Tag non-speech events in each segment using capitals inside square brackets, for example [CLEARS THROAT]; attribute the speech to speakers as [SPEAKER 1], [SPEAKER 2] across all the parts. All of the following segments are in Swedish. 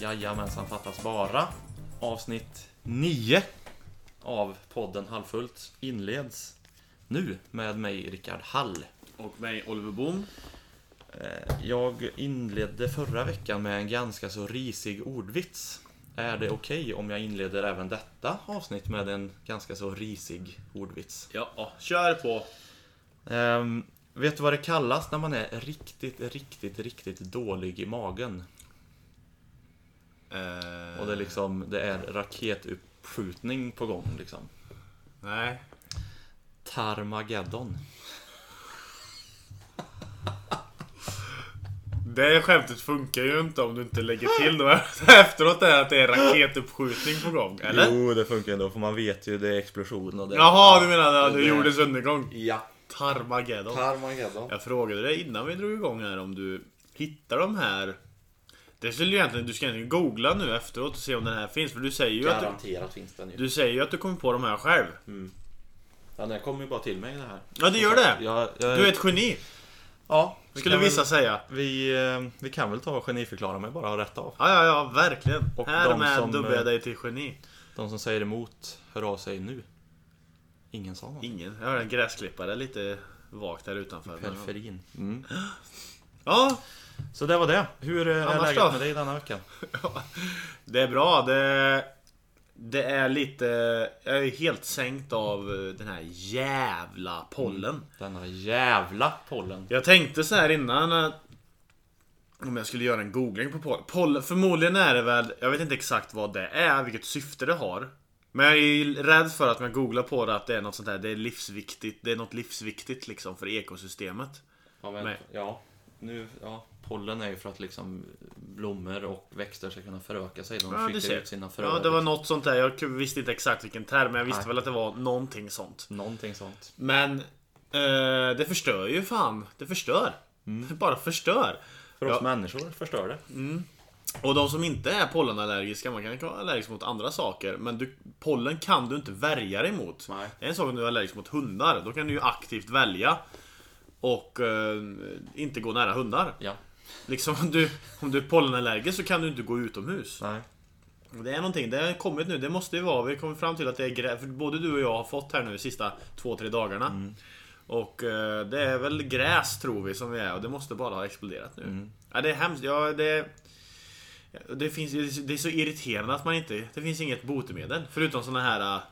[SPEAKER 1] Jajamensan fattas bara. Avsnitt 9 av podden Halvfullt inleds nu med mig Rickard Hall.
[SPEAKER 2] Och mig Oliver Boom.
[SPEAKER 1] Eh, Jag inledde förra veckan med en ganska så risig ordvits. Är det okej om jag inleder även detta avsnitt med en ganska så risig ordvits?
[SPEAKER 2] Ja, kör på.
[SPEAKER 1] Ehm, vet du vad det kallas när man är riktigt, riktigt, riktigt dålig i magen?
[SPEAKER 2] Eh,
[SPEAKER 1] Och det är liksom, det är raketuppskjutning på gång liksom.
[SPEAKER 2] Nej.
[SPEAKER 1] Tarmageddon.
[SPEAKER 2] Det skämtet funkar ju inte om du inte lägger till då [LAUGHS] efteråt är att det är raketuppskjutning på gång, eller?
[SPEAKER 1] Jo, det funkar ändå för man vet ju det är explosion och det
[SPEAKER 2] Jaha, du menar att
[SPEAKER 1] Det-
[SPEAKER 2] du gjorde undergång?
[SPEAKER 1] Ja.
[SPEAKER 2] Tarmageddon.
[SPEAKER 1] Tarmageddon.
[SPEAKER 2] Jag frågade dig innan vi drog igång här om du hittar de här det skulle ju egentligen, du ska egentligen googla nu efteråt och se om den här finns för du säger ju, att du,
[SPEAKER 1] Garanterat finns den ju.
[SPEAKER 2] du säger ju att du kom på de här själv.
[SPEAKER 1] Ja, den kommer ju bara till mig det här.
[SPEAKER 2] Ja det gör det!
[SPEAKER 1] Jag, jag,
[SPEAKER 2] Du är ett geni!
[SPEAKER 1] ja, vi
[SPEAKER 2] Skulle
[SPEAKER 1] kan väl-
[SPEAKER 2] vissa säga.
[SPEAKER 1] Vi, eh, vi kan väl ta och geniförklara mig bara rätt av.
[SPEAKER 2] Ja, ja, ja, verkligen.
[SPEAKER 1] Och de som,
[SPEAKER 2] Härmed dubbar
[SPEAKER 1] eh,
[SPEAKER 2] jag dig till geni.
[SPEAKER 1] De som säger emot, hör av sig nu. Ingen sa något.
[SPEAKER 2] Ingen. Jag har en gräsklippare lite vagt här utanför. men-
[SPEAKER 1] Perferin. Mm.
[SPEAKER 2] Ja,
[SPEAKER 1] Så det var det. Hur eh, är
[SPEAKER 2] Annars
[SPEAKER 1] läget
[SPEAKER 2] då?
[SPEAKER 1] med dig denna vecka?
[SPEAKER 2] det är bra. Det, det är lite... Jag är helt sänkt av eh, den här jävla pollen.
[SPEAKER 1] Denna jävla pollen.
[SPEAKER 2] Jag tänkte så här innan att om jag skulle göra en googling på pollen. pollen. Förmodligen är det väl, jag vet inte exakt vad det är, vilket syfte det har. Men jag är rädd för att om jag googlar på det att det är något sånt här, det är livsviktigt, det är något livsviktigt liksom för ekosystemet.
[SPEAKER 1] Ja, men,
[SPEAKER 2] Nej.
[SPEAKER 1] ja, nu, ja, pollen är ju för att liksom blommor och växter ska kunna föröka sig. De
[SPEAKER 2] Ja, du
[SPEAKER 1] skickar
[SPEAKER 2] ser.
[SPEAKER 1] ut sina fröer.
[SPEAKER 2] Ja, det var något sånt där. Jag visste inte exakt vilken term, men jag visste
[SPEAKER 1] Nej.
[SPEAKER 2] väl att det var någonting sånt.
[SPEAKER 1] Någonting sånt.
[SPEAKER 2] Men eh, det förstör ju fan. Det förstör.
[SPEAKER 1] Mm.
[SPEAKER 2] Det [LAUGHS] bara förstör.
[SPEAKER 1] För oss
[SPEAKER 2] Ja.
[SPEAKER 1] människor förstör det.
[SPEAKER 2] Och de som inte är pollenallergiska, man kan vara allergisk mot andra saker, men du, pollen kan du inte värja dig mot.
[SPEAKER 1] Nej.
[SPEAKER 2] Det är en sak om du är allergisk mot hundar, då kan du ju aktivt välja och eh, inte gå nära hundar.
[SPEAKER 1] Ja.
[SPEAKER 2] Liksom om du, om du är pollenallergisk så kan du inte gå utomhus.
[SPEAKER 1] Nej.
[SPEAKER 2] Och Det är någonting, det har kommit nu, det måste ju vara, vi kommer fram till att det är grä... för både du och jag har fått här nu de sista två, tre dagarna.
[SPEAKER 1] Mm.
[SPEAKER 2] Och eh, det är väl gräs tror vi som vi är och det måste bara ha exploderat
[SPEAKER 1] Mm.
[SPEAKER 2] nu. Ja, det är hemskt, ja det... Det, finns, det är så irriterande att man inte... Det finns inget botemedel. Förutom såna här... eh,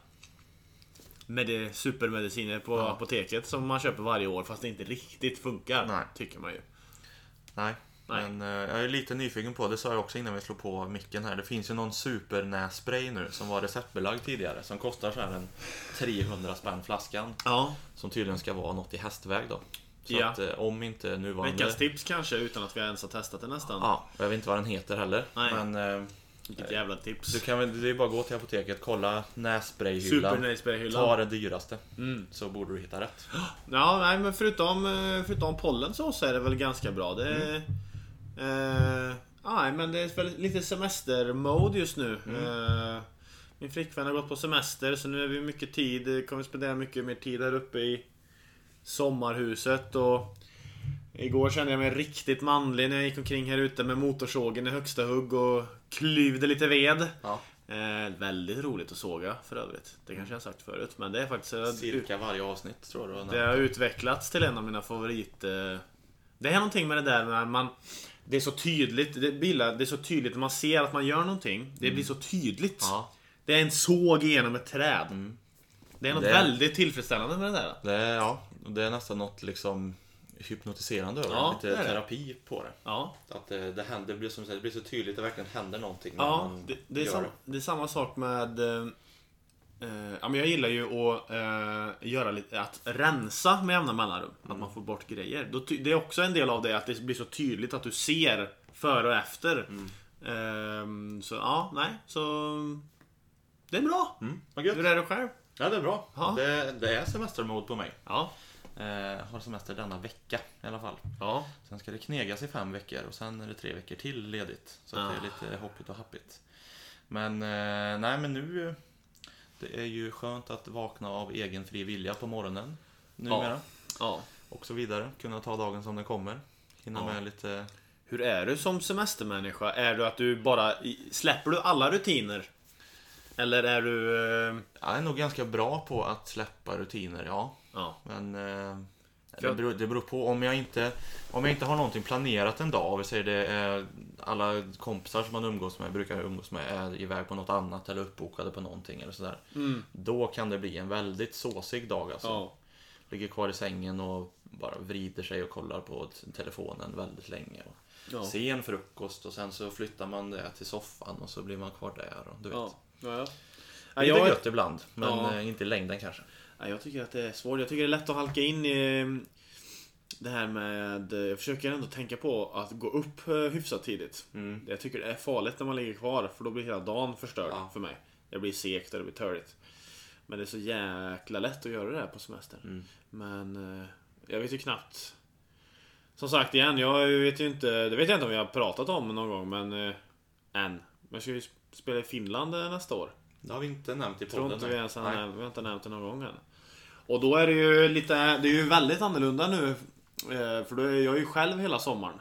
[SPEAKER 2] Med supermediciner på apoteket som man köper varje år fast det inte riktigt funkar.
[SPEAKER 1] Nej.
[SPEAKER 2] Tycker man ju.
[SPEAKER 1] Nej.
[SPEAKER 2] Nej.
[SPEAKER 1] Men eh, jag är lite nyfiken på, det sa jag också innan vi slog på micken här. Det finns ju någon supernässpray nu som var receptbelagd tidigare. Som kostar så här en 300 spänn flaskan.
[SPEAKER 2] Ja.
[SPEAKER 1] Som tydligen ska vara något i hästväg då. Så
[SPEAKER 2] Ja.
[SPEAKER 1] att eh, om inte nuvarande...
[SPEAKER 2] Veckans tips kanske utan att vi ens har testat det nästan.
[SPEAKER 1] Ja, och jag vet inte vad den heter heller.
[SPEAKER 2] Nej.
[SPEAKER 1] Men eh,
[SPEAKER 2] Vilket jävla tips.
[SPEAKER 1] du kan väl, det är bara att gå till apoteket, kolla nässprayhyllan. Ta
[SPEAKER 2] Supernöjesberghyllan.
[SPEAKER 1] det dyraste.
[SPEAKER 2] Mm.
[SPEAKER 1] Så borde du hitta rätt.
[SPEAKER 2] Ja, nej men förutom, eh, förutom pollen så, så är det väl ganska bra. Det är,
[SPEAKER 1] Mm.
[SPEAKER 2] eh, nej, men det är väl lite semestermode just nu.
[SPEAKER 1] Mm.
[SPEAKER 2] Eh, min flickvän har gått på semester så nu är vi mycket tid, kommer spendera mycket mer tid här uppe i sommarhuset och Igår kände jag mig riktigt manlig när jag gick omkring här ute med motorsågen i högsta hugg och klyvde lite ved.
[SPEAKER 1] Ja.
[SPEAKER 2] Eh, väldigt roligt att såga för övrigt. Det kanske jag har sagt förut men det är faktiskt...
[SPEAKER 1] Cirka varje avsnitt tror du.
[SPEAKER 2] Det har utvecklats till en av mina favorit... eh, Det är någonting med det där när man... Det är så tydligt, det, bildar, det är så tydligt man ser att man gör någonting. Det blir så tydligt.
[SPEAKER 1] Mm. Ja. Mm.
[SPEAKER 2] Det är en såg genom ett träd. Det är något
[SPEAKER 1] Det-
[SPEAKER 2] väldigt tillfredsställande med det där.
[SPEAKER 1] Det är, ja, det är nästan något liksom hypnotiserande över
[SPEAKER 2] Ja,
[SPEAKER 1] det.
[SPEAKER 2] det
[SPEAKER 1] Lite
[SPEAKER 2] är det.
[SPEAKER 1] terapi på det.
[SPEAKER 2] Ja,
[SPEAKER 1] Att eh, det, det händer, det blir som sagt, det blir så tydligt, det verkligen händer någonting. när
[SPEAKER 2] ja
[SPEAKER 1] man
[SPEAKER 2] det, det, är
[SPEAKER 1] gör
[SPEAKER 2] sam, Mm. det är samma sak med... eh, eh, ja, men jag gillar ju att eh, göra lite, att rensa med jämna mellanrum. Att man får bort grejer. Då, ty- det är också en del av det, att det blir så tydligt att du ser Mm. före och efter. Ehm, så ja, nej. Så Det är bra!
[SPEAKER 1] Mm, vad gött.
[SPEAKER 2] Hur är det själv?
[SPEAKER 1] Ja, det är bra.
[SPEAKER 2] Ja.
[SPEAKER 1] Det, det är semestermode på mig.
[SPEAKER 2] Ja.
[SPEAKER 1] Eh, har semester denna vecka i alla fall.
[SPEAKER 2] Ja.
[SPEAKER 1] Sen ska det knegas i fem veckor och sen är det tre veckor till ledigt. Så att det är
[SPEAKER 2] Ah.
[SPEAKER 1] lite hoppigt och happigt. Men eh, nej, men nu... eh, Det är ju skönt att vakna av egen fri vilja på morgonen. Numera.
[SPEAKER 2] ja.
[SPEAKER 1] Och så vidare. Kunna ta dagen som den kommer. Hinna
[SPEAKER 2] Ja.
[SPEAKER 1] med lite...
[SPEAKER 2] Hur är du som semestermänniska? Är du att du bara... i- Släpper du alla rutiner? Eller är du... eh,
[SPEAKER 1] Jag är nog ganska bra på att släppa rutiner, ja.
[SPEAKER 2] Ja.
[SPEAKER 1] Men eh, det,
[SPEAKER 2] jag-
[SPEAKER 1] beror, det beror på om jag inte Om jag inte har någonting planerat en dag, vi säger det är alla kompisar som man umgås med, brukar umgås med, är iväg på något annat eller uppbokade på någonting eller sådär. Då kan det bli en väldigt såsig dag alltså.
[SPEAKER 2] Mm. Ja.
[SPEAKER 1] Ligger kvar i sängen och bara vrider sig och kollar på t- telefonen väldigt länge. Och
[SPEAKER 2] Ja.
[SPEAKER 1] Ser en frukost och sen så flyttar man det till soffan och så blir man kvar där. Och, du vet.
[SPEAKER 2] Ja. ja, ja.
[SPEAKER 1] Det är
[SPEAKER 2] jag,
[SPEAKER 1] lite gött ibland, men
[SPEAKER 2] Ja.
[SPEAKER 1] eh, inte i längden kanske.
[SPEAKER 2] ja, jag tycker att det är svårt. Jag tycker det är lätt att halka in i mm, det här med... eh, Jag försöker ändå tänka på att gå upp eh, hyfsat tidigt. Jag tycker det är farligt när man ligger kvar för då blir hela dagen förstörd
[SPEAKER 1] Ja.
[SPEAKER 2] för mig. Det blir segt och det blir törligt. Men det är så jäkla lätt att göra det här på semestern.
[SPEAKER 1] Mm.
[SPEAKER 2] Men eh, jag vet ju knappt. Som sagt igen, jag vet ju inte. Det vet jag inte om jag har pratat om någon gång men eh, än. Men jag ska ju spela i Finland eh, nästa år.
[SPEAKER 1] Det har vi inte nämnt i podden.
[SPEAKER 2] Jag tror inte vi
[SPEAKER 1] nej.
[SPEAKER 2] ens har
[SPEAKER 1] Nej.
[SPEAKER 2] nämnt, vi har inte nämnt det någon gång än. Och då är det ju lite, det är ju väldigt annorlunda nu. eh, För då är jag ju själv hela sommaren.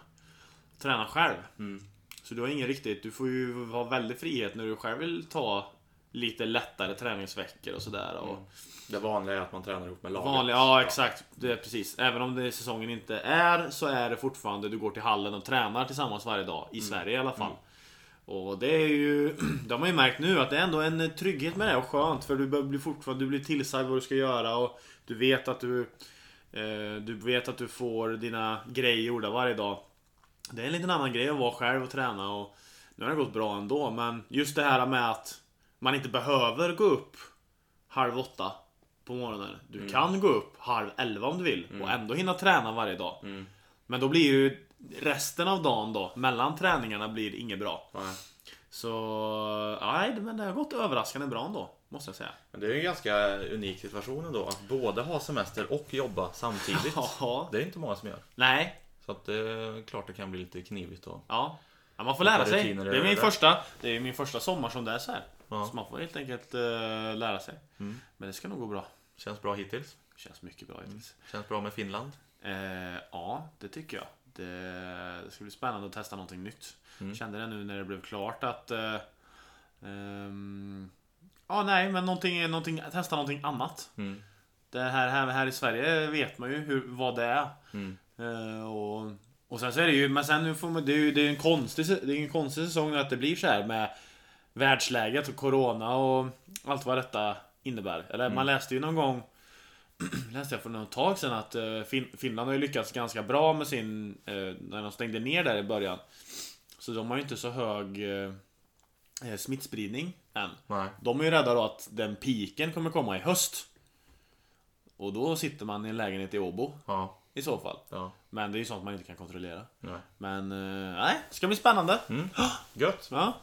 [SPEAKER 2] Tränar själv.
[SPEAKER 1] Mm.
[SPEAKER 2] Så du har ingen riktigt, du får ju ha väldigt frihet när du själv vill ta lite lättare träningsveckor och sådär. Och
[SPEAKER 1] Det vanliga är att man tränar ihop med laget.
[SPEAKER 2] vanliga, ja exakt, det är precis. Även om det säsongen inte är så är det fortfarande du går till hallen och tränar tillsammans varje dag.
[SPEAKER 1] Mm.
[SPEAKER 2] I Sverige i alla fall. Och det är ju, [CLEARS THROAT] det har man ju märkt nu att det är ändå en trygghet med det och skönt för du blir fortfarande, du blir tillsagd vad du ska göra och du vet att du eh, Du vet att du får dina grejer gjorda varje dag. Det är en liten annan grej att vara själv och träna och nu har det gått bra ändå men just det här med att man inte behöver gå upp halv åtta på morgonen. Du
[SPEAKER 1] Mm.
[SPEAKER 2] kan gå upp halv elva om du vill och ändå hinna träna varje dag.
[SPEAKER 1] Mm.
[SPEAKER 2] Men då blir ju resten av dagen då, mellan träningarna blir inget bra.
[SPEAKER 1] Nej.
[SPEAKER 2] Så nej, det- men det har gått överraskande bra ändå, måste jag säga.
[SPEAKER 1] Men det är ju en ganska unik situation ändå. Att både ha semester och jobba samtidigt.
[SPEAKER 2] [LAUGHS] Ja.
[SPEAKER 1] Det är inte många som gör.
[SPEAKER 2] Nej,
[SPEAKER 1] Så att det är klart det kan bli lite knivigt då.
[SPEAKER 2] ja. ja man får lära
[SPEAKER 1] Vilka
[SPEAKER 2] sig.
[SPEAKER 1] rutiner
[SPEAKER 2] Det är
[SPEAKER 1] är
[SPEAKER 2] min
[SPEAKER 1] det?
[SPEAKER 2] första, det är min första sommar som det är så här.
[SPEAKER 1] Ja. Mm.
[SPEAKER 2] Så man får helt enkelt eh, lära sig. Men det ska nog gå bra.
[SPEAKER 1] Känns bra hittills.
[SPEAKER 2] Känns mycket
[SPEAKER 1] Mm.
[SPEAKER 2] bra hittills.
[SPEAKER 1] Känns bra med Finland.
[SPEAKER 2] Eh, ja, det tycker jag. Det, det ska bli spännande att testa någonting nytt. Kände det nu när det blev klart att... Eh, ehm, ja, nej, men någonting, någonting, testa någonting annat.
[SPEAKER 1] Mm.
[SPEAKER 2] Det här, här, här i Sverige vet man ju hur, vad det är.
[SPEAKER 1] Mm.
[SPEAKER 2] Eh, och, och sen så är det ju, men sen nu får man, det är ju det är en, konstig, sä- det är en konstig säsong att det blir så här med världsläget och corona och allt vad detta innebär. Eller man läste ju någon gång [CLEARS THROAT] läste jag för något tag sedan att eh, fin- Finland har ju lyckats ganska bra med sin, eh, när de stängde ner där i början. Så de har ju inte så hög eh, eh, smittspridning än.
[SPEAKER 1] Nej.
[SPEAKER 2] De är ju rädda då att den piken kommer komma i höst. Och då sitter man i en lägenhet i Åbo
[SPEAKER 1] Ja.
[SPEAKER 2] i så fall.
[SPEAKER 1] Ja.
[SPEAKER 2] Men det är ju sånt man inte kan kontrollera.
[SPEAKER 1] Nej.
[SPEAKER 2] Men eh, nej, det ska bli spännande.
[SPEAKER 1] Mm. Gött.
[SPEAKER 2] Ja.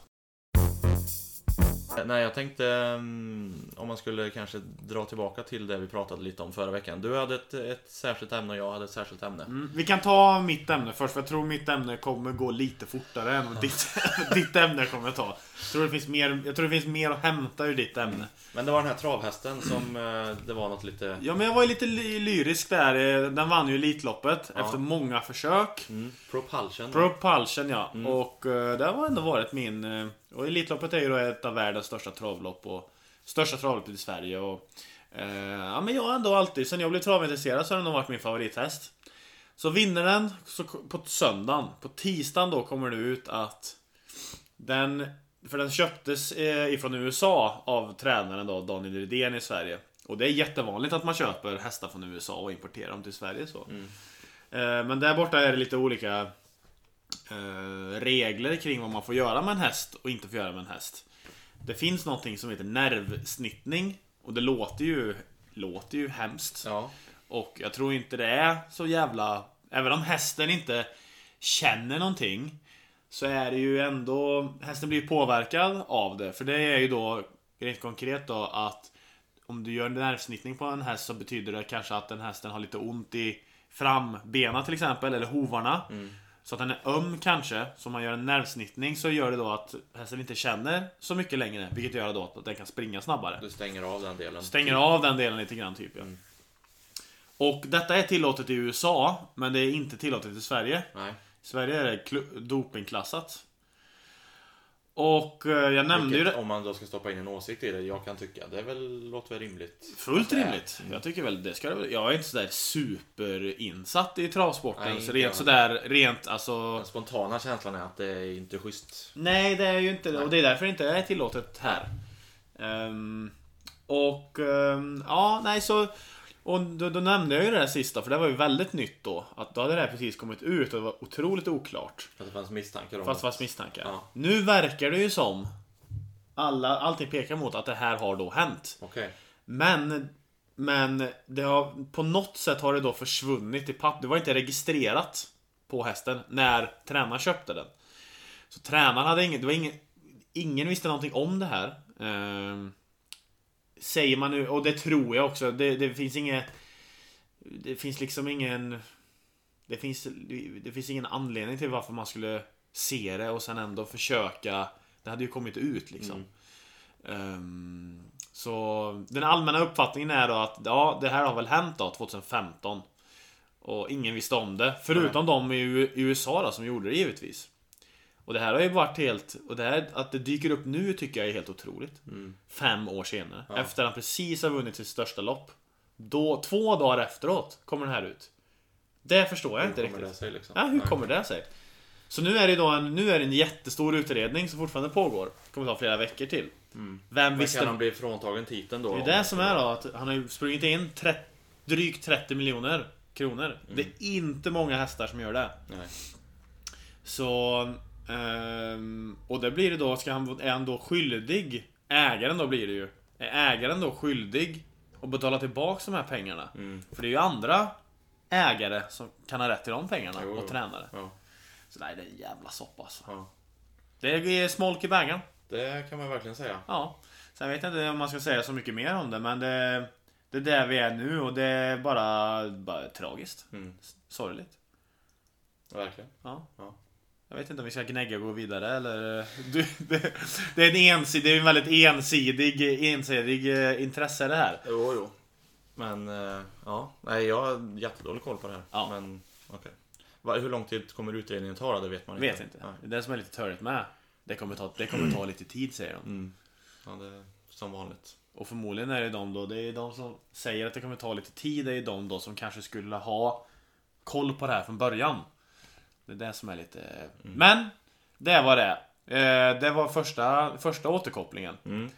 [SPEAKER 1] Nej, jag tänkte mm, om man skulle kanske dra tillbaka till det vi pratade lite om förra veckan. Du hade ett, ett särskilt ämne och jag hade ett särskilt ämne.
[SPEAKER 2] Mm, Vi kan ta mitt ämne först, för jag tror mitt ämne kommer gå lite fortare än vad ditt, [LAUGHS] ditt ämne kommer att ta. Jag tror, det finns mer, jag tror det finns mer att hämta ur ditt ämne.
[SPEAKER 1] Men det var den här travhästen som eh, det var något lite...
[SPEAKER 2] Ja, men jag var ju lite ly- lyrisk där. Eh, Den vann ju Elitloppet efter många försök.
[SPEAKER 1] Mm. Propulsion.
[SPEAKER 2] Propulsion ja. Och eh, det har ändå varit min... eh, Och Elitloppet är ju då ett av världens största travlopp och största travloppet i Sverige. Och, eh, ja, men jag har ändå alltid, sen jag blev travintresserad så har den nog varit min favorithäst. Så vinner den så, k- på söndagen, på tisdagen då kommer det ut att den... För den köptes eh, ifrån USA av tränaren då, Daniel Rydén i Sverige. Och det är jättevanligt att man köper hästar från USA och importerar dem till Sverige så. Eh, men där borta är det lite olika eh, regler kring vad man får göra med en häst och inte får göra med en häst. Det finns någonting som heter nervsnittning och det låter ju, låter ju hemskt.
[SPEAKER 1] Ja.
[SPEAKER 2] Och jag tror inte det är så jävla... Även om hästen inte känner någonting så är det ju ändå... Hästen blir ju påverkad av det. För det är ju då Rent konkret då att om du gör en nervsnittning på en häst så betyder det kanske att den hästen har lite ont i frambena till exempel, eller hovarna. Så att den är öm kanske. Så om man gör en nervsnittning så gör det då att hästen inte känner så mycket längre. Vilket gör då att den kan springa snabbare.
[SPEAKER 1] Du stänger av den delen.
[SPEAKER 2] Stänger av den delen lite grann typ ja.
[SPEAKER 1] Mm.
[SPEAKER 2] Och detta är tillåtet i USA, men det är inte tillåtet i Sverige.
[SPEAKER 1] Nej.
[SPEAKER 2] I Sverige är det klu- dopingklassat. Och eh, jag nämnde ju
[SPEAKER 1] Vilket,
[SPEAKER 2] det.
[SPEAKER 1] om man då ska stoppa in en åsikt i det, jag kan tycka. Det är väl, låter väl rimligt.
[SPEAKER 2] Fullt rimligt. Jag tycker väl det ska det väl- Jag är inte sådär superinsatt i travsporten.
[SPEAKER 1] Nej,
[SPEAKER 2] så
[SPEAKER 1] inte jag.
[SPEAKER 2] rent sådär, rent alltså.
[SPEAKER 1] Den spontana känslan är att det är inte schysst.
[SPEAKER 2] Nej, det är ju inte det. Och det är därför det inte är tillåtet här. Ehm, och ehm, ja, nej så... Och då, då nämnde jag ju det där sista, för det var ju väldigt nytt då. Att då hade det här precis kommit ut och det var otroligt oklart.
[SPEAKER 1] Att det fanns misstankar om
[SPEAKER 2] Fast
[SPEAKER 1] att...
[SPEAKER 2] fast misstankar.
[SPEAKER 1] Ja.
[SPEAKER 2] Nu verkar det ju som... Alla, allting pekar mot att det här har då hänt.
[SPEAKER 1] Okej.
[SPEAKER 2] Men... Men det har, på något sätt har det då försvunnit i papp. Det var inte registrerat på hästen när tränaren köpte den. Så tränaren hade ingen... Det var ingen, ingen visste någonting om det här. Ehm, säger man nu, och det tror jag också. Det, det finns inget... Det finns liksom ingen... Det finns, det finns ingen anledning till varför man skulle se det och sen ändå försöka. Det hade ju kommit ut liksom. Ehm, så den allmänna uppfattningen är då att ja, det här har väl hänt då 2015. Och ingen visste om det. Förutom de i U- i USA då som gjorde det givetvis. Och det här har ju varit helt... Och det här att det dyker upp nu tycker jag är helt otroligt.
[SPEAKER 1] Mm.
[SPEAKER 2] Fem år senare. Efter han precis har vunnit sitt största lopp. Då, två dagar efteråt kommer den här ut. Det förstår jag inte
[SPEAKER 1] Hur
[SPEAKER 2] riktigt.
[SPEAKER 1] kommer det sig liksom?
[SPEAKER 2] Ja, hur
[SPEAKER 1] Nej.
[SPEAKER 2] kommer det sig? Så nu är det, ju då en, nu är det en jättestor utredning som fortfarande pågår. Kommer ta flera veckor till. Vem
[SPEAKER 1] Mm. Men
[SPEAKER 2] visste?
[SPEAKER 1] kan han bli fråntagen titeln då?
[SPEAKER 2] Det är det som är då, att han har ju sprungit in tre, drygt 30 miljoner kronor. Det är inte många hästar som gör det.
[SPEAKER 1] Mm. Nej.
[SPEAKER 2] Så... ehm, och det blir det då, ska han, är han då skyldig? Ägaren då blir det ju. Är ägaren då skyldig att betala tillbaks de här pengarna?
[SPEAKER 1] Mm.
[SPEAKER 2] För det är ju andra ägare som kan ha rätt till de pengarna
[SPEAKER 1] Jo, jo.
[SPEAKER 2] och tränare.
[SPEAKER 1] Ja.
[SPEAKER 2] Så nej, det är en jävla soppa alltså.
[SPEAKER 1] ja.
[SPEAKER 2] Det är smolk i bägaren.
[SPEAKER 1] Det kan man verkligen säga.
[SPEAKER 2] Ja. Sen vet jag inte om man ska säga så mycket mer om det, men det, det är där vi är nu och det är bara, bara tragiskt.
[SPEAKER 1] Mm.
[SPEAKER 2] S- Sorgligt.
[SPEAKER 1] Verkligen.
[SPEAKER 2] Ja.
[SPEAKER 1] Ja.
[SPEAKER 2] Jag vet inte om vi ska gnägga och gå vidare eller... Du, det, det, är en ensidig, det är en väldigt ensidig, ensidig eh, intresse det här.
[SPEAKER 1] Jo, jo. Men eh, ja, nej jag har jättedålig koll på det här.
[SPEAKER 2] Ja.
[SPEAKER 1] Men okej. Va- Hur lång tid kommer utredningen ta då? Det vet man inte.
[SPEAKER 2] Vet inte.
[SPEAKER 1] Nej.
[SPEAKER 2] Det är det som är lite törligt med. Det kommer ta, det kommer ta lite tid säger de.
[SPEAKER 1] Ja, det är som vanligt.
[SPEAKER 2] Och förmodligen är det de då, det är de som säger att det kommer ta lite tid, det är de då som kanske skulle ha koll på det här från början. Det är det som är lite...
[SPEAKER 1] Mm.
[SPEAKER 2] Men! Det var det. Eh, Det var första, första återkopplingen.
[SPEAKER 1] Mm.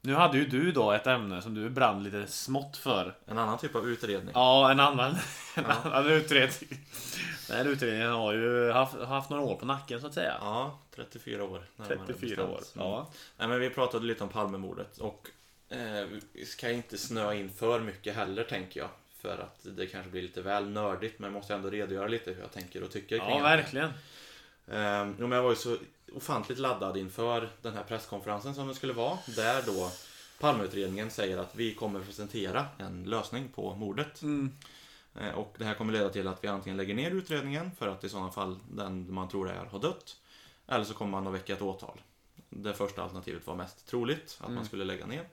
[SPEAKER 2] Nu hade ju du då ett ämne som du brann lite smått för.
[SPEAKER 1] En annan typ av utredning.
[SPEAKER 2] Ja, en annan, [LAUGHS] en annan utredning. Den här utredningen har ju haft, haft några år på nacken så att säga.
[SPEAKER 1] Ja, 34 år. närmare
[SPEAKER 2] 34 år.
[SPEAKER 1] bestämt. Mm.
[SPEAKER 2] Ja.
[SPEAKER 1] Nej, men vi pratade lite om Palmemordet och eh, vi ska inte snöa in för mycket heller tänker jag. För att det kanske blir lite väl nördigt men jag måste ändå redogöra lite hur jag tänker och tycker
[SPEAKER 2] ja,
[SPEAKER 1] det.
[SPEAKER 2] verkligen.
[SPEAKER 1] Eh, jo, men jag var ju så ofantligt laddad inför den här presskonferensen som det skulle vara. Där då Palmeutredningen säger att vi kommer presentera en lösning på mordet. Eh, Och det här kommer leda till att vi antingen lägger ner utredningen för att i sådana fall den man tror det är har dött. Eller så kommer man att väcka ett åtal. Det första alternativet var mest troligt, att man skulle lägga ner.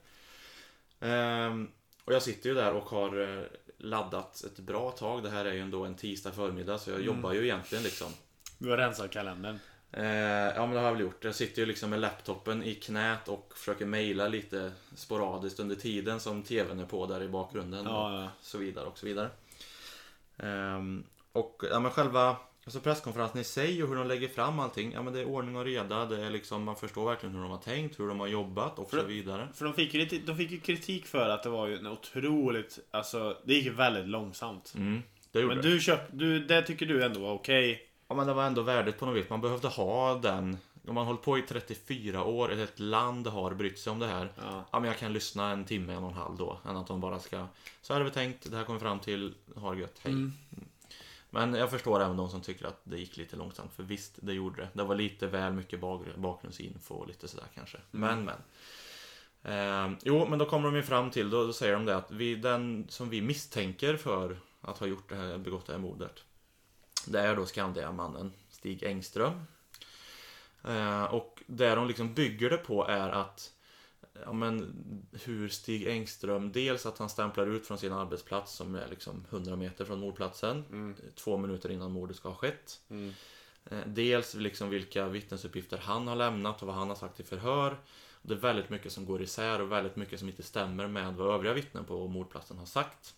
[SPEAKER 1] Ehm, och jag sitter ju där och har eh, laddat ett bra tag. Det här är ju ändå en tisdag förmiddag så jag jobbar ju egentligen liksom.
[SPEAKER 2] Du har rensat kalendern.
[SPEAKER 1] Eh, ja men det har jag väl gjort. Jag sitter ju liksom med laptopen i knät och försöker mejla lite sporadiskt under tiden som TVn är på där i bakgrunden.
[SPEAKER 2] Ja, ja.
[SPEAKER 1] Och så vidare och så vidare. Ehm, och ja, men själva alltså presskonferensen i sig och hur de lägger fram allting. Ja men det är ordning och reda. Det är liksom, man förstår verkligen hur de har tänkt, hur de har jobbat och så
[SPEAKER 2] För-
[SPEAKER 1] vidare.
[SPEAKER 2] För de fick, ju lite, de fick ju kritik för att det var ju en otroligt, alltså det gick ju väldigt långsamt.
[SPEAKER 1] Mm, det gjorde
[SPEAKER 2] Men
[SPEAKER 1] det.
[SPEAKER 2] du köp, du, det tycker du ändå var okej.
[SPEAKER 1] Ja men det var ändå värdigt på något vis. Man behövde ha den. Om man hållit på i 34 år, ett land har brytt sig om det här.
[SPEAKER 2] Ja.
[SPEAKER 1] men jag kan lyssna en timme, en och en halv då. Än att de bara ska... Så här har vi tänkt, det här kommer fram till, ha det gött, hej. Mm. Men jag förstår även de som tycker att det gick lite långsamt. För visst, det gjorde det. Det var lite väl mycket bak- bakgrundsinfo och lite sådär kanske. Men men. Eh, jo, men då kommer de ju fram till, då, då säger de det att vi, den som vi misstänker för att ha gjort det här, begått det här mordet. Det är då Skandia-mannen Stig Engström. Eh, och det de liksom bygger det på är att Ja men hur Stig Engström, dels att han stämplar ut från sin arbetsplats som är liksom 100 meter från mordplatsen.
[SPEAKER 2] Mm,
[SPEAKER 1] eh, Två minuter innan mordet ska ha skett. Eh, Dels liksom vilka vittnesuppgifter han har lämnat och vad han har sagt i förhör. Det är väldigt mycket som går isär och väldigt mycket som inte stämmer med vad övriga vittnen på mordplatsen har sagt.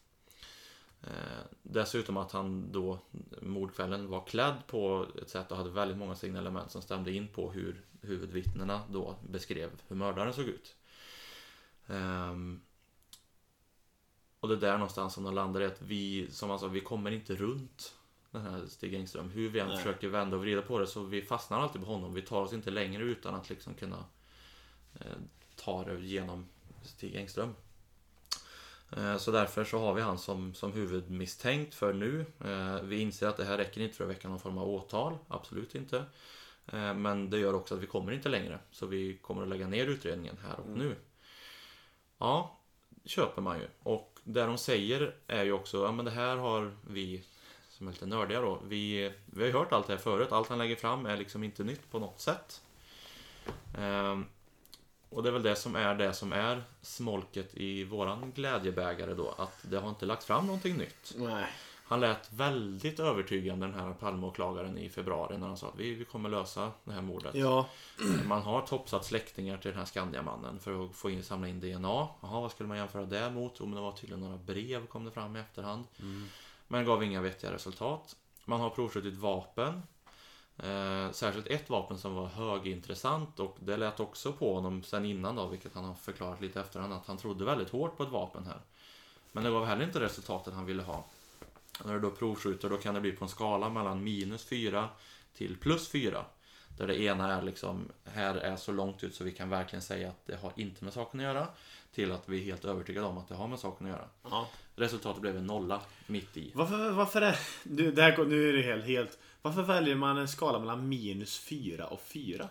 [SPEAKER 1] Eh, Dessutom att han då mordkvällen var klädd på ett sätt och hade väldigt många signalement som stämde in på hur huvudvittnena då beskrev hur mördaren såg ut. Ehm, och det är där någonstans som de landar i att vi, som han sa, vi kommer inte runt den här Stig Engström. Hur vi än
[SPEAKER 2] Nej.
[SPEAKER 1] försöker vända och vrida på det så vi fastnar alltid på honom. Vi tar oss inte längre utan att liksom kunna eh, ta det genom Stig Engström. Eh, Så därför så har vi han som, som huvudmisstänkt för nu. Eh, Vi inser att det här räcker inte för att väcka någon form av åtal. Absolut inte. Eh, Men det gör också att vi kommer inte längre. Så vi kommer att lägga ner utredningen här och nu. Ja, köper man ju. Och det de säger är ju också, ja men det här har vi som är lite nördiga då. Vi, vi har ju hört allt det här förut. Allt han lägger fram är liksom inte nytt på något sätt. Ehm, och det är väl det som är det som är smolket i våran glädjebägare då. Att det har inte lagts fram någonting nytt.
[SPEAKER 2] Nej.
[SPEAKER 1] Han lät väldigt övertygande den här Palmeåklagaren i februari när han sa att vi, vi kommer lösa det här mordet.
[SPEAKER 2] Ja.
[SPEAKER 1] Man har topsat släktingar till den här Skandiamannen för att få in, samla in DNA. Jaha, vad skulle man jämföra det mot? Jo, men det var tydligen några brev kom det fram i efterhand. Men gav inga vettiga resultat. Man har provskjutit vapen. Eh, särskilt ett vapen som var högintressant och det lät också på honom sen innan då, vilket han har förklarat lite efterhand, att han trodde väldigt hårt på ett vapen här. Men det gav heller inte resultatet han ville ha. När du då provskjuter då kan det bli på en skala mellan minus 4 till plus 4. Där det ena är liksom, här är så långt ut så vi kan verkligen säga att det har inte med saken att göra. Till att vi är helt övertygade om att det har med saken att göra.
[SPEAKER 2] ja.
[SPEAKER 1] Resultatet blev en nolla mitt i.
[SPEAKER 2] Varför, varför är... Du, det här, går- nu är det helt, helt... Varför väljer man en skala mellan minus 4 och 4?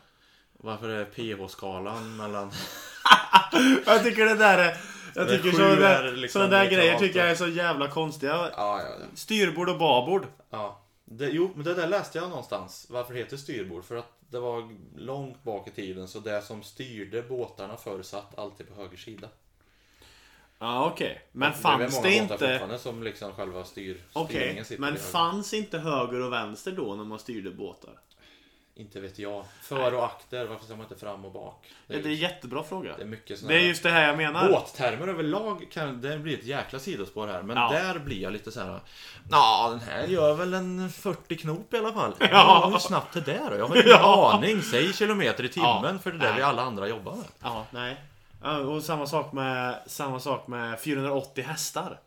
[SPEAKER 1] Varför är PH-skalan mellan...
[SPEAKER 2] Jag tycker det där är... Jag
[SPEAKER 1] Men
[SPEAKER 2] tycker
[SPEAKER 1] sju
[SPEAKER 2] sådana
[SPEAKER 1] är
[SPEAKER 2] där,
[SPEAKER 1] liksom
[SPEAKER 2] sådana där
[SPEAKER 1] neutralt
[SPEAKER 2] grejer tycker jag
[SPEAKER 1] då.
[SPEAKER 2] är så jävla konstiga.
[SPEAKER 1] [LAUGHS] Ja, ja, ja.
[SPEAKER 2] Styrbord och babord.
[SPEAKER 1] ja. Det, jo, men det där läste jag någonstans. Varför heter styrbord? För att det var långt bak i tiden så det som styrde båtarna förr satt alltid på höger sida.
[SPEAKER 2] Ja okej. Men
[SPEAKER 1] är
[SPEAKER 2] fanns
[SPEAKER 1] väl
[SPEAKER 2] det
[SPEAKER 1] många båtar
[SPEAKER 2] inte...
[SPEAKER 1] fortfarande som liksom själva styr,
[SPEAKER 2] Okej,
[SPEAKER 1] styrningen sitter
[SPEAKER 2] men
[SPEAKER 1] i höger.
[SPEAKER 2] fanns inte höger och vänster då när man styrde båtar?
[SPEAKER 1] Inte vet jag. För och akter, varför säger man inte fram och bak?
[SPEAKER 2] Det är en jättebra fråga.
[SPEAKER 1] det är mycket såna
[SPEAKER 2] Det är
[SPEAKER 1] här-
[SPEAKER 2] just det här jag menar.
[SPEAKER 1] Båttermer överlag kan det blir ett jäkla sidospår här. Men
[SPEAKER 2] Ja.
[SPEAKER 1] där blir jag lite så här. Ja, den här gör väl en 40 knop i alla
[SPEAKER 2] [LAUGHS]
[SPEAKER 1] fall. Ja. hur snabbt är det då? Jag har ingen
[SPEAKER 2] Ja.
[SPEAKER 1] aning. Säg kilometer i timmen
[SPEAKER 2] Ja.
[SPEAKER 1] för det är det
[SPEAKER 2] Nej.
[SPEAKER 1] vi alla andra jobbar med.
[SPEAKER 2] Ja, nej. Ja, Och samma sak med, samma sak med 480 hästar.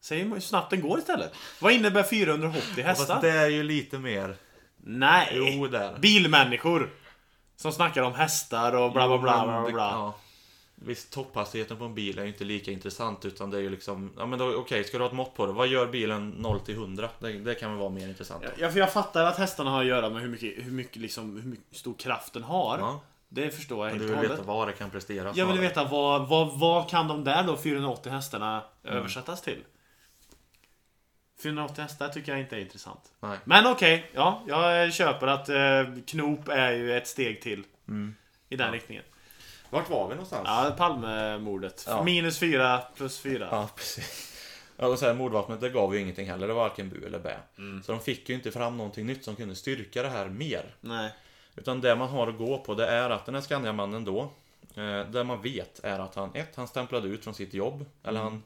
[SPEAKER 2] Säg hur snabbt den går istället. Vad innebär 480 hästar?
[SPEAKER 1] Fast det är ju lite mer.
[SPEAKER 2] Nej!
[SPEAKER 1] Jo, där.
[SPEAKER 2] Bilmänniskor! Som snackar om hästar och bla bla bla. bla, bla, bla.
[SPEAKER 1] Ja. Visst, topphastigheten på en bil är ju inte lika intressant utan det är ju liksom... Ja men då- okej, ska du ha ett mått på det? Vad gör bilen 0 till 100? Det, det kan väl vara mer intressant. då.
[SPEAKER 2] Ja, för jag fattar att hästarna har att göra med hur mycket, hur mycket, liksom, hur mycket stor kraft den har.
[SPEAKER 1] Ja.
[SPEAKER 2] Det förstår jag
[SPEAKER 1] Men
[SPEAKER 2] helt
[SPEAKER 1] du
[SPEAKER 2] och
[SPEAKER 1] vill
[SPEAKER 2] hållet.
[SPEAKER 1] veta vad det kan prestera?
[SPEAKER 2] Jag vill
[SPEAKER 1] snarare.
[SPEAKER 2] veta vad, vad, vad kan de där då 480 hästarna
[SPEAKER 1] Mm.
[SPEAKER 2] översättas till? 480 hästar tycker jag inte är intressant.
[SPEAKER 1] Nej.
[SPEAKER 2] Men okej, ja, jag köper att eh, knop är ju ett steg till.
[SPEAKER 1] Mm.
[SPEAKER 2] I den riktningen.
[SPEAKER 1] Vart var vi någonstans?
[SPEAKER 2] Ja, Palmemordet.
[SPEAKER 1] Ja.
[SPEAKER 2] Minus 4 plus 4.
[SPEAKER 1] Ja, precis. Ja, och så här, mordvapnet det gav ju ingenting heller. Det var varken bu eller bä.
[SPEAKER 2] Mm.
[SPEAKER 1] Så de fick ju inte fram någonting nytt som kunde styrka det här mer.
[SPEAKER 2] Nej.
[SPEAKER 1] Utan det man har att gå på det är att den här Skandiamannen då, eh, det man vet är att han, ett, han stämplade ut från sitt jobb. Eller han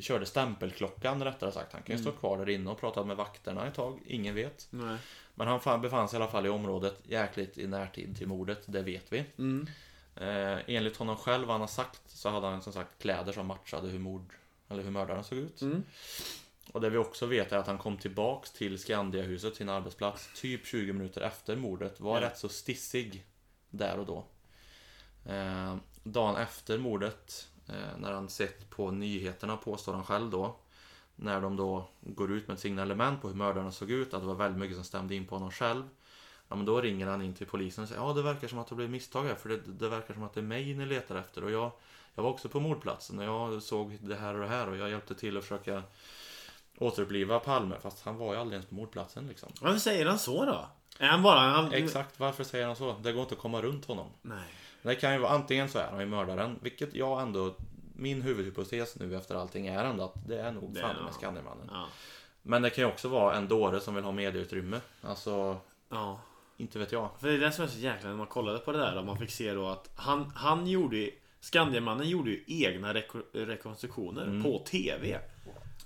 [SPEAKER 1] körde stämpelklockan rättare sagt. Han kan ju stå kvar där inne och prata med vakterna ett tag. Ingen vet.
[SPEAKER 2] Nej.
[SPEAKER 1] Men han fan, befann sig i alla fall i området jäkligt i närtid till mordet, det vet vi.
[SPEAKER 2] Mm.
[SPEAKER 1] Eh, enligt honom själv, vad han har sagt, så hade han som sagt kläder som matchade hur, mord, eller hur mördaren såg ut.
[SPEAKER 2] Mm.
[SPEAKER 1] Och det vi också vet är att han kom tillbaks till Skandiahuset, sin arbetsplats, typ 20 minuter efter mordet. Var
[SPEAKER 2] Ja.
[SPEAKER 1] rätt så stissig där och då. Eh, dagen efter mordet, eh, när han sett på nyheterna, påstår han själv då, när de då går ut med ett signalement på hur mördaren såg ut, att det var väldigt mycket som stämde in på honom själv. Ja, men då ringer han in till polisen och säger ja det verkar som att det blev misstag här för det, det verkar som att det är mig ni letar efter och jag, jag var också på mordplatsen och jag såg det här och det här och jag hjälpte till att försöka återuppliva Palme fast han var ju aldrig ens på mordplatsen liksom.
[SPEAKER 2] Varför säger han så då? Är han bara... Han...
[SPEAKER 1] Exakt varför säger han så? Det går inte att komma runt honom.
[SPEAKER 2] Nej.
[SPEAKER 1] Det kan ju vara antingen så är han ju mördaren, vilket jag ändå min huvudhypotes nu efter allting är ändå att det är nog
[SPEAKER 2] Det är
[SPEAKER 1] fan
[SPEAKER 2] nog
[SPEAKER 1] med
[SPEAKER 2] han.
[SPEAKER 1] Skandiamannen.
[SPEAKER 2] Ja.
[SPEAKER 1] Men det kan ju också vara en dåre som vill ha medieutrymme. Alltså,
[SPEAKER 2] ja.
[SPEAKER 1] inte vet jag.
[SPEAKER 2] För det är det som är så jäkla när man kollade på det där och man fick se då att han, han gjorde ju- Skandiamannen gjorde ju egna reko- rekonstruktioner
[SPEAKER 1] Mm.
[SPEAKER 2] på TV.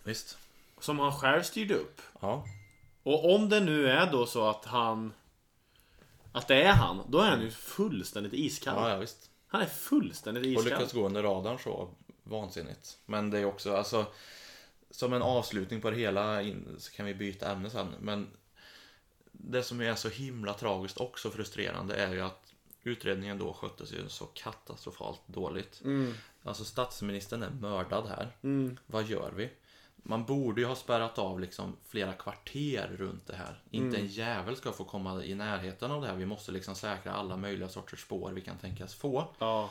[SPEAKER 1] Visst.
[SPEAKER 2] Som han själv styrde upp.
[SPEAKER 1] Ja.
[SPEAKER 2] Och om det nu är då så att han... Att det är han, då är han ju fullständigt iskall.
[SPEAKER 1] Ja, ja visst.
[SPEAKER 2] Han är fullständigt
[SPEAKER 1] Och
[SPEAKER 2] iskall.
[SPEAKER 1] lyckas gå under radarn så vansinnigt. Men det är också, alltså som en avslutning på det hela in- så kan vi byta ämne sen. Men det som är så himla tragiskt och så frustrerande är ju att utredningen då sköttes ju så katastrofalt dåligt. Alltså statsministern är mördad här. Vad gör vi? Man borde ju ha spärrat av liksom flera kvarter runt det här. Inte en jävel ska få komma i närheten av det här. Vi måste liksom säkra alla möjliga sorters spår vi kan tänkas få.
[SPEAKER 2] [LAUGHS] Ja.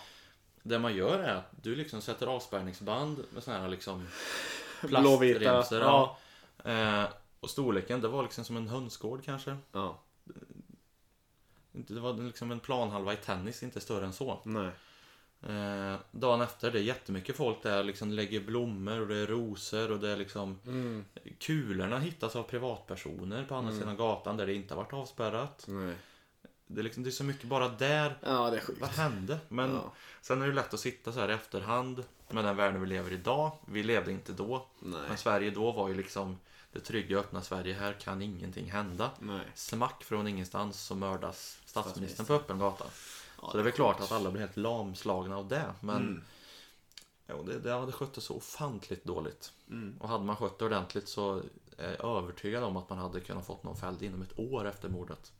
[SPEAKER 1] Det man gör är att du liksom sätter avspärrningsband med såna här liksom
[SPEAKER 2] [LAUGHS] Blåvita,
[SPEAKER 1] plastremsor. Ja. Eh, och storleken, det var liksom som en hönsgård kanske.
[SPEAKER 2] ja.
[SPEAKER 1] Inte- Det var liksom en planhalva i tennis, inte större än så.
[SPEAKER 2] Nej.
[SPEAKER 1] Eh, dagen efter, det är jättemycket folk där. Liksom lägger blommor och det är rosor och det är liksom Kulorna hittas av privatpersoner på
[SPEAKER 2] Mm.
[SPEAKER 1] andra sidan gatan där det inte har varit avspärrat.
[SPEAKER 2] Nej.
[SPEAKER 1] Det är, liksom, det är så mycket bara där
[SPEAKER 2] Ja, det är sjukt.
[SPEAKER 1] Vad hände? Men
[SPEAKER 2] Ja.
[SPEAKER 1] sen är det lätt att sitta så här i efterhand med den världen vi lever i idag. Vi levde inte då. Men
[SPEAKER 2] Nej.
[SPEAKER 1] Sverige då var ju liksom det trygga öppna Sverige. Här kan ingenting hända.
[SPEAKER 2] Nej.
[SPEAKER 1] Smack från ingenstans så mördas statsministern på öppen gata.
[SPEAKER 2] Ja,
[SPEAKER 1] så det är väl klart att alla blir helt lamslagna av det. Men
[SPEAKER 2] Mm.
[SPEAKER 1] jo, det, det hade sköttes så ofantligt dåligt.
[SPEAKER 2] Mm.
[SPEAKER 1] Och hade man skött det ordentligt så är jag övertygad om att man hade kunnat fått någon fälld inom ett år efter mordet.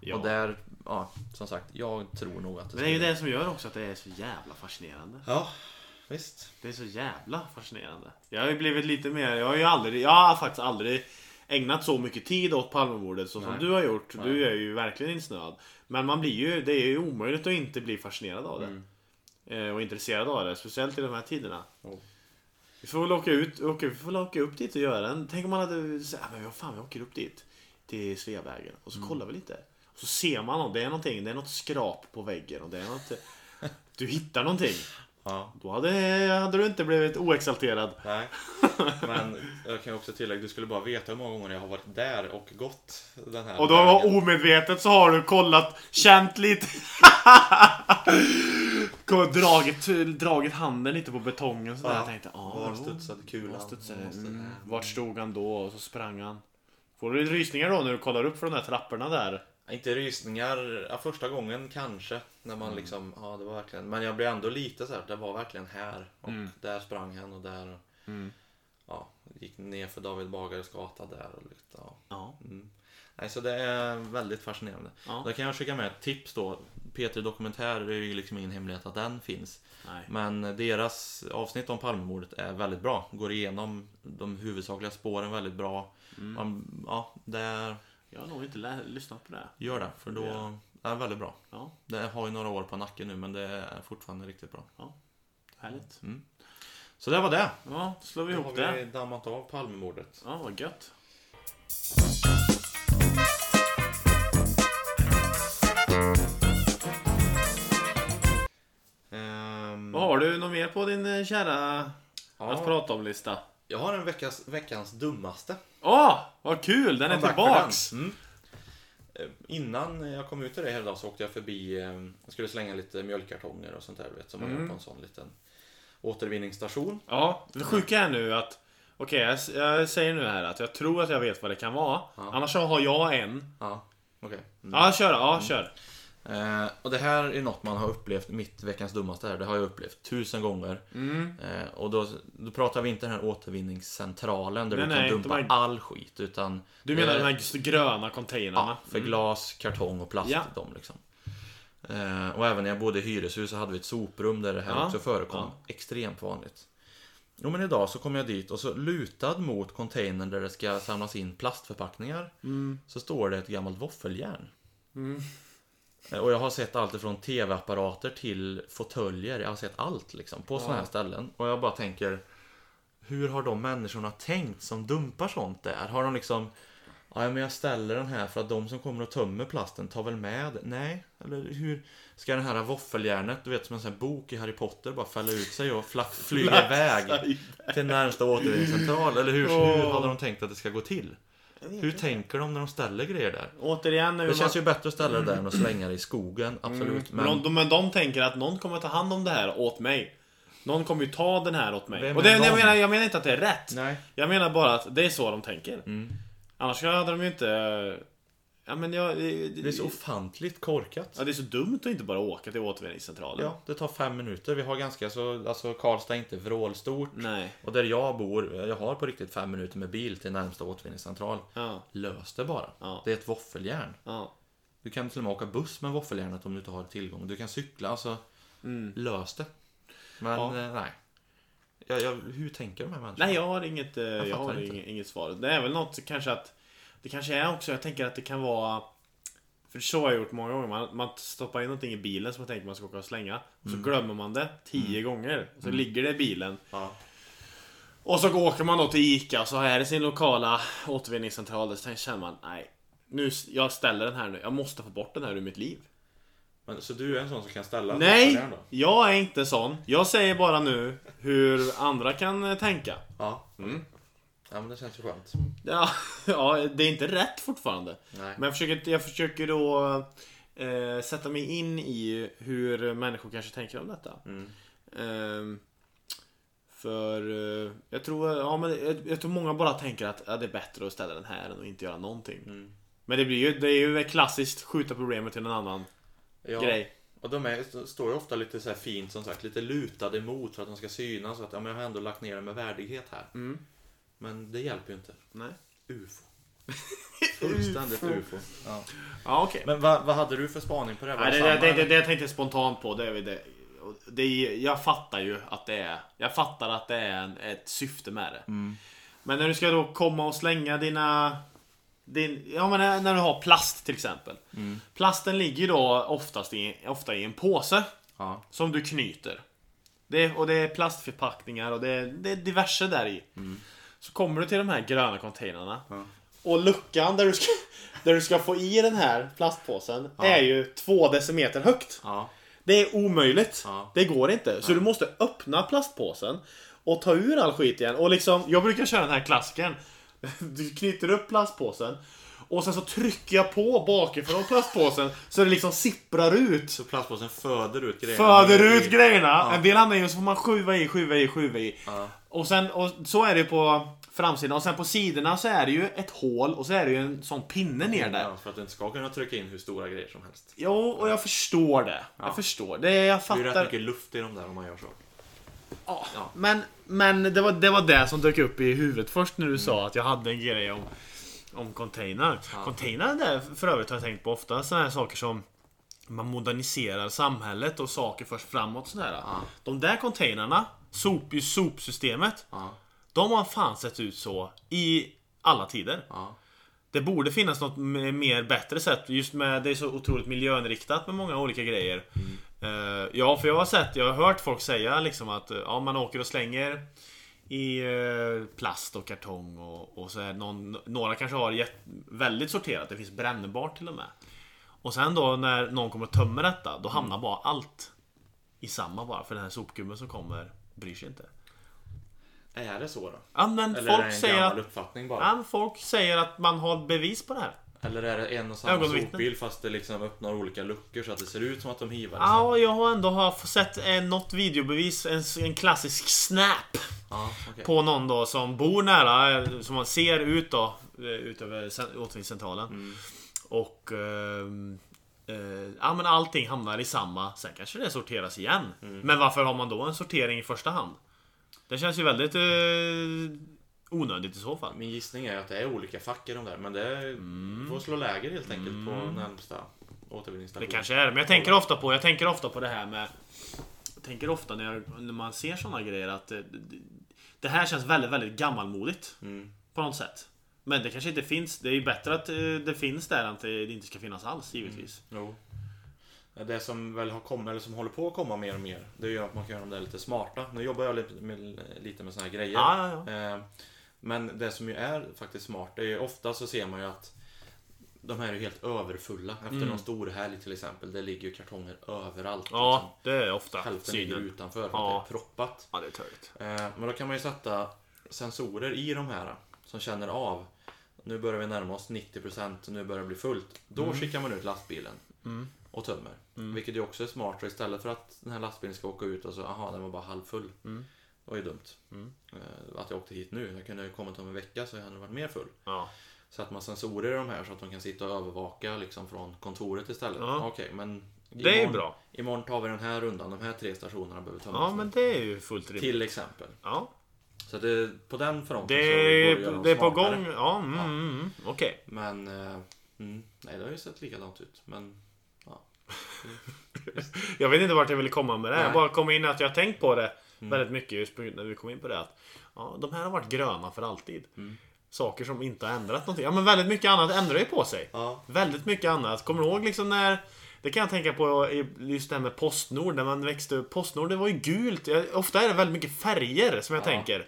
[SPEAKER 2] Ja.
[SPEAKER 1] Och där, ja, som sagt, jag tror nog att
[SPEAKER 2] Men det är ju
[SPEAKER 1] skulle-
[SPEAKER 2] det som gör också att det är så jävla fascinerande.
[SPEAKER 1] Ja, visst.
[SPEAKER 2] Det är så jävla fascinerande. Jag har ju blivit lite mer, jag har ju aldrig, jag har faktiskt aldrig ägnat så mycket tid åt Palmemordet så som
[SPEAKER 1] Nej.
[SPEAKER 2] du har gjort. Du är ju verkligen insnöad. Men man blir ju, det är ju omöjligt att inte bli fascinerad av det.
[SPEAKER 1] Mm.
[SPEAKER 2] Eh, och intresserad av det, speciellt i de här tiderna.
[SPEAKER 1] Ja.
[SPEAKER 2] Vi får väl åka ut, åka, vi får väl åka upp dit och göra en. Tänk om man hade sagt, men vad fan vi åker upp dit. Till Sveavägen och
[SPEAKER 1] Mm.
[SPEAKER 2] så kollar vi lite. Och så ser man något, det är någonting, det är något skrap på väggen och det är något, du hittar någonting.
[SPEAKER 1] Ja.
[SPEAKER 2] Då hade, hade du inte blivit oexalterad.
[SPEAKER 1] Nej. Men jag kan också tillägga, du skulle bara veta hur många gånger jag har varit där och gått den här
[SPEAKER 2] Och då var
[SPEAKER 1] vägen.
[SPEAKER 2] omedvetet så har du kollat, känt lite. [LAUGHS] Kom, dragit, dragit handen lite på betongen sådär.
[SPEAKER 1] Ja.
[SPEAKER 2] Jag tänkte, ah,
[SPEAKER 1] Var
[SPEAKER 2] jo,
[SPEAKER 1] studsade kulan?
[SPEAKER 2] var studsade
[SPEAKER 1] Var studsade-
[SPEAKER 2] den? Mm. Vart stod han då? Och så sprang han. Får du rysningar då när du kollar upp för de där trapporna där?
[SPEAKER 1] Inte rysningar, ja, första gången kanske. När
[SPEAKER 2] Mm.
[SPEAKER 1] man liksom, ja det var verkligen. Men jag blev ändå lite så här, det var verkligen här. Och
[SPEAKER 2] Mm.
[SPEAKER 1] där sprang han och där. Ja, gick ner för David Bagares gata där och lite, ja. Mm.
[SPEAKER 2] Ja.
[SPEAKER 1] Nej, så det är väldigt fascinerande.
[SPEAKER 2] Ja.
[SPEAKER 1] Då kan jag skicka med ett tips då. P3 Dokumentär är ju liksom ingen hemlighet att den finns.
[SPEAKER 2] Nej.
[SPEAKER 1] Men deras avsnitt om Palmemordet är väldigt bra. Går igenom de huvudsakliga spåren väldigt bra.
[SPEAKER 2] Mm.
[SPEAKER 1] Man, ja, det
[SPEAKER 2] Jag har nog inte lä- lyssnat på det.
[SPEAKER 1] gör det. För då
[SPEAKER 2] Ja.
[SPEAKER 1] det är väldigt bra.
[SPEAKER 2] Ja,
[SPEAKER 1] Det har ju några år på nacken nu men det är fortfarande riktigt bra. Mm.
[SPEAKER 2] härligt.
[SPEAKER 1] Så det var det.
[SPEAKER 2] Ja, då slår vi
[SPEAKER 1] Då
[SPEAKER 2] ihop
[SPEAKER 1] har vi
[SPEAKER 2] det.
[SPEAKER 1] dammat av Palmemordet.
[SPEAKER 2] Ja, vad gött.
[SPEAKER 1] Ehm,
[SPEAKER 2] Vad har du något mer på din eh, kära att
[SPEAKER 1] ja,
[SPEAKER 2] prata om-lista?
[SPEAKER 1] jag har en veckas, veckans dummaste.
[SPEAKER 2] Åh, vad kul! Den är
[SPEAKER 1] Come back
[SPEAKER 2] tillbaks!
[SPEAKER 1] för den. Mm. Eh, Innan jag kom ut till dig här idag så åkte jag förbi, eh, jag skulle slänga lite mjölkkartonger och sånt där du vet, som man
[SPEAKER 2] Mm.
[SPEAKER 1] gör på en sån liten återvinningsstation.
[SPEAKER 2] Ja, det sjuka är nu att... Okej, jag, s- jag säger nu här att jag tror att jag vet vad det kan vara. Annars så har jag en.
[SPEAKER 1] Ja, okej. Mm.
[SPEAKER 2] Ja, kör då. Ja, kör.
[SPEAKER 1] Eh, och det här är något man har upplevt, mitt veckans dummaste här, det har jag upplevt tusen gånger.
[SPEAKER 2] Mm.
[SPEAKER 1] Eh, och då, då pratar vi inte den här återvinningscentralen där
[SPEAKER 2] Nej,
[SPEAKER 1] du kan
[SPEAKER 2] nej,
[SPEAKER 1] dumpa
[SPEAKER 2] de här-
[SPEAKER 1] all skit utan...
[SPEAKER 2] Du menar
[SPEAKER 1] eh,
[SPEAKER 2] de här g- gröna containrarna?
[SPEAKER 1] Ja, för glas, kartong och plast.
[SPEAKER 2] Mm. Ja.
[SPEAKER 1] De, liksom. eh, och även när jag bodde i hyreshus så hade vi ett soprum där det här
[SPEAKER 2] Ja.
[SPEAKER 1] också förekom. Extremt vanligt. Jo men idag så kom jag dit och så lutad mot
[SPEAKER 2] Mm.
[SPEAKER 1] containern där det ska samlas in plastförpackningar så står det ett gammalt våffeljärn. Eh, Och jag har sett allt ifrån tv-apparater till fåtöljer. Jag har sett allt liksom på sådana här ställen. Och jag bara tänker Hur har de människorna tänkt som dumpar sånt där? Har de liksom Ja men jag ställer den här för att de som kommer och tömmer plasten tar väl med? Nej? Eller hur? Ska den här våffeljärnet, du vet som en sån här bok i Harry Potter, bara fälla ut sig och
[SPEAKER 2] [LAUGHS]
[SPEAKER 1] flack, flyga iväg till närmsta återvinningscentral? Eller hur, hur
[SPEAKER 2] Åh.
[SPEAKER 1] hade de tänkt att det ska gå till? Hur tänker de när de ställer grejer där?
[SPEAKER 2] Återigen, nu
[SPEAKER 1] Det känns ju bättre att ställa det där än att slänga det i skogen, absolut.
[SPEAKER 2] Mm. men...
[SPEAKER 1] Men
[SPEAKER 2] De, men de tänker att någon kommer ta hand om det här åt mig. Någon kommer ju ta den här åt mig.
[SPEAKER 1] Vem
[SPEAKER 2] och det,
[SPEAKER 1] är
[SPEAKER 2] jag,
[SPEAKER 1] någon?
[SPEAKER 2] menar, jag menar inte att det är rätt.
[SPEAKER 1] nej. Mm.
[SPEAKER 2] Jag menar bara att det är så de tänker. Annars hade de ju inte... Ja, men jag,
[SPEAKER 1] Det är så ofantligt korkat.
[SPEAKER 2] ja, det är så dumt att inte bara åka till återvinningscentralen.
[SPEAKER 1] Ja, det tar fem minuter. Vi har ganska så, alltså Karlstad är inte vrålstort.
[SPEAKER 2] Nej.
[SPEAKER 1] Och där jag bor, jag har på riktigt fem minuter med bil till närmsta återvinningscentral.
[SPEAKER 2] Ja.
[SPEAKER 1] Lös det bara.
[SPEAKER 2] Ja.
[SPEAKER 1] Det är ett våffeljärn.
[SPEAKER 2] Ja.
[SPEAKER 1] Du kan till och med åka buss med våffeljärnet om du inte har tillgång. Du kan cykla, alltså. Lös det. Men
[SPEAKER 2] Mm. Ja.
[SPEAKER 1] eh, nej. Jag, jag, hur tänker de här människorna?
[SPEAKER 2] Nej, jag har inget, eh, jag
[SPEAKER 1] fattar
[SPEAKER 2] har
[SPEAKER 1] inte.
[SPEAKER 2] inget, inget svar. Det är väl något kanske att... Det kanske är också, jag tänker att det kan vara... För så har jag gjort många gånger. Man, man stoppar in någonting i bilen som man tänker man ska åka och slänga. Och så glömmer man det tio gånger. Och så ligger det i bilen.
[SPEAKER 1] Ja.
[SPEAKER 2] Och så åker man då till ICA och så är det sin lokala återvinningscentral. Och så tänker- känner man, nej. Nu, s- jag ställer den här nu. Jag måste få bort den här ur mitt liv.
[SPEAKER 1] Men, så du är en sån som kan ställa
[SPEAKER 2] Nej!
[SPEAKER 1] våffeljärn då?
[SPEAKER 2] Jag är inte sån. Jag säger bara nu hur andra kan eh, tänka.
[SPEAKER 1] Ja. Ja men det känns ju skönt.
[SPEAKER 2] Ja, [LAUGHS] ja, det är inte rätt fortfarande.
[SPEAKER 1] Nej.
[SPEAKER 2] Men jag försöker, jag försöker då eh, sätta mig in i hur människor kanske tänker om detta.
[SPEAKER 1] Mm.
[SPEAKER 2] Ehm, för eh, jag, tror, ja, men jag, jag tror många bara tänker att ja, det är bättre att ställa den här än att inte göra någonting.
[SPEAKER 1] Mm.
[SPEAKER 2] Men det, blir ju, det är ju klassiskt skjuta problemet till någon annan
[SPEAKER 1] Ja.
[SPEAKER 2] grej.
[SPEAKER 1] Och de är, står ju ofta lite så här fint som sagt, lite lutade emot för att de ska synas. Så att ja, men jag har ändå lagt ner det med värdighet här.
[SPEAKER 2] Mm.
[SPEAKER 1] Men det hjälper ju inte.
[SPEAKER 2] Nej.
[SPEAKER 1] UFO. Fullständigt UFO.
[SPEAKER 2] UFO.
[SPEAKER 1] Ja.
[SPEAKER 2] Ja, okej.
[SPEAKER 1] Men vad, vad hade du för spaning på det? Var
[SPEAKER 2] Nej, det,
[SPEAKER 1] samma,
[SPEAKER 2] det, det, det,
[SPEAKER 1] eller?
[SPEAKER 2] det jag tänkte spontant på, det är väl det. och det är, jag fattar ju att det är, jag fattar att det är en, ett syfte med det. Men när du ska då komma och slänga dina, din, ja men när- när du har plast till exempel. Plasten ligger ju då oftast i, ofta i en påse
[SPEAKER 1] Ja.
[SPEAKER 2] som du knyter. Det är, och det är plastförpackningar och det är, det är diverse där i.
[SPEAKER 1] Mm.
[SPEAKER 2] Så kommer du till de här gröna containrarna. Och luckan där du, ska, där du ska få i den här plastpåsen är ju två decimeter högt.
[SPEAKER 1] Ja.
[SPEAKER 2] Det är omöjligt.
[SPEAKER 1] Ja.
[SPEAKER 2] Det går inte. Så du måste öppna plastpåsen och ta ur all skit igen. Och liksom, jag brukar köra den här klassikern. [LAUGHS] Du knyter upp plastpåsen och sen så trycker jag på bakifrån plastpåsen så det liksom sipprar ut.
[SPEAKER 1] Så plastpåsen föder ut grejer.
[SPEAKER 2] Föder ut grejerna! En del hamnar i och så får man skjuva i, skjuva i, skjuva i. Och, sen, och så är det ju på framsidan och sen på sidorna så är det ju ett hål och så är det ju en sån pinne ner där.
[SPEAKER 1] Ja, för att du inte ska kunna trycka in hur stora grejer som helst.
[SPEAKER 2] Jo, och jag förstår det. Jag förstår. Det jag
[SPEAKER 1] Det är ju rätt
[SPEAKER 2] fattar.
[SPEAKER 1] mycket luft i de där om man gör så.
[SPEAKER 2] Ja.
[SPEAKER 1] Ja.
[SPEAKER 2] Men, men det, var, det var det som dök upp i huvudet först
[SPEAKER 1] Mm.
[SPEAKER 2] när du sa att jag hade en grej om, om container.
[SPEAKER 1] Ja.
[SPEAKER 2] Container där för övrigt har jag tänkt på ofta sådana här saker som man moderniserar samhället och saker förs framåt sådär. De där containrarna, sop, i sopsystemet,
[SPEAKER 1] Ja.
[SPEAKER 2] de har fan sett ut så i alla tider.
[SPEAKER 1] Ja.
[SPEAKER 2] Det borde finnas något m- mer bättre sätt. Just med det är så otroligt miljöinriktat med många olika grejer.
[SPEAKER 1] Mm.
[SPEAKER 2] Eh, ja, för jag har sett, jag har hört folk säga liksom att eh, ja, man åker och slänger i eh, plast och kartong och, och så är det någon, Några kanske har jätt, väldigt sorterat. Det finns brännbart till och med. Och sen då när någon kommer och tömmer detta, då
[SPEAKER 1] Mm.
[SPEAKER 2] hamnar bara allt i samma bara. För den här sopgubben som kommer bryr sig inte.
[SPEAKER 1] Är det så då?
[SPEAKER 2] Ja, men
[SPEAKER 1] Eller är
[SPEAKER 2] folk
[SPEAKER 1] det en
[SPEAKER 2] säger
[SPEAKER 1] gammal
[SPEAKER 2] att...
[SPEAKER 1] uppfattning bara?
[SPEAKER 2] Ja, men folk säger att man har bevis på det här.
[SPEAKER 1] Eller är det en och samma
[SPEAKER 2] Ögonvittnen.
[SPEAKER 1] sopbil fast det liksom öppnar olika luckor så att det ser ut som att de hivar? Ja.
[SPEAKER 2] Ja, jag har ändå har sett en, något videobevis, en, en klassisk snap
[SPEAKER 1] Ja, okej.
[SPEAKER 2] på någon då som bor nära, eh, som man ser ut då, eh, ut över cen- återvinningscentralen. Och... ehm, eh, ja men allting hamnar i samma, sen kanske det sorteras igen. Men varför har man då en sortering i första hand? Det känns ju väldigt eh, onödigt i så fall.
[SPEAKER 1] Min gissning är att det är olika fack i de där men det är,
[SPEAKER 2] Mm.
[SPEAKER 1] får slå läger helt enkelt på närmsta
[SPEAKER 2] Det
[SPEAKER 1] återvinningsstation.
[SPEAKER 2] kanske är Mm. det, men jag tänker ofta på, jag tänker ofta på det här med... Jag tänker ofta när, jag, när man ser såna grejer att... eh, Det, det här känns väldigt, väldigt gammalmodigt.
[SPEAKER 1] Mm.
[SPEAKER 2] På något sätt. Men det kanske inte finns. Det är ju bättre att eh, det finns där än att det inte ska finnas alls givetvis.
[SPEAKER 1] Jo. Det som väl har kommit, eller som håller på att komma mer och mer, det är ju att man kan göra dem där lite smarta. Nu jobbar jag lite med, lite med såna här grejer.
[SPEAKER 2] Ja, ja,
[SPEAKER 1] Eh, Men det som ju är faktiskt smart, det är ju ofta så ser man ju att de här är ju helt överfulla. Efter
[SPEAKER 2] Mm.
[SPEAKER 1] någon stor helg till exempel, det ligger ju kartonger överallt. liksom.
[SPEAKER 2] Ja, det är ofta
[SPEAKER 1] Hälften ligger
[SPEAKER 2] synen.
[SPEAKER 1] utanför för
[SPEAKER 2] Ja.
[SPEAKER 1] att det är proppat.
[SPEAKER 2] Ja, det är töjt.
[SPEAKER 1] Eh, Men då kan man ju sätta sensorer i de här som känner av. Nu börjar vi närma oss 90%, nu börjar det bli fullt. Då
[SPEAKER 2] Mm.
[SPEAKER 1] skickar man ut lastbilen och tömmer. Vilket ju också är smart. Så istället för att den här lastbilen ska åka ut och så, aha, den var bara halvfull.
[SPEAKER 2] Mm.
[SPEAKER 1] Det var ju dumt. Eh, Att jag åkte hit nu. Jag kunde ju kommit om en vecka så hade den varit mer full.
[SPEAKER 2] Ja.
[SPEAKER 1] Så att man sensorer i de här så att de kan sitta och övervaka liksom från kontoret istället.
[SPEAKER 2] Ja.
[SPEAKER 1] Okej, men
[SPEAKER 2] Det är
[SPEAKER 1] imorgon-
[SPEAKER 2] bra.
[SPEAKER 1] Imorgon tar vi den här rundan. De här tre stationerna behöver tömmas.
[SPEAKER 2] Ja,
[SPEAKER 1] nu.
[SPEAKER 2] men det är ju fullt rimligt.
[SPEAKER 1] Till exempel.
[SPEAKER 2] Ja.
[SPEAKER 1] Så det, på den fronten
[SPEAKER 2] Det
[SPEAKER 1] så går att
[SPEAKER 2] är,
[SPEAKER 1] göra
[SPEAKER 2] det är på
[SPEAKER 1] dem
[SPEAKER 2] gång.
[SPEAKER 1] smartare.
[SPEAKER 2] Ja, mm, mm, mm. okej.
[SPEAKER 1] Men... eh, Mm, nej, det har ju sett likadant ut. Men...
[SPEAKER 2] Jag vet inte vart jag ville komma med det här. Jag
[SPEAKER 1] Nej. Mm.
[SPEAKER 2] bara kom in att jag har tänkt på det väldigt mycket just på, när vi kom in på det. Att, ja, de här har varit gröna för alltid.
[SPEAKER 1] Mm.
[SPEAKER 2] Saker som inte har ändrat någonting. Ja, men väldigt mycket annat ändrar ju på sig.
[SPEAKER 1] Ja.
[SPEAKER 2] Väldigt mycket annat. Kommer du ihåg liksom när det kan jag tänka på i- just det här med Postnord, när man växte upp. Postnord det var ju gult. Jag- Ofta är det väldigt mycket färger som jag
[SPEAKER 1] Ja.
[SPEAKER 2] tänker.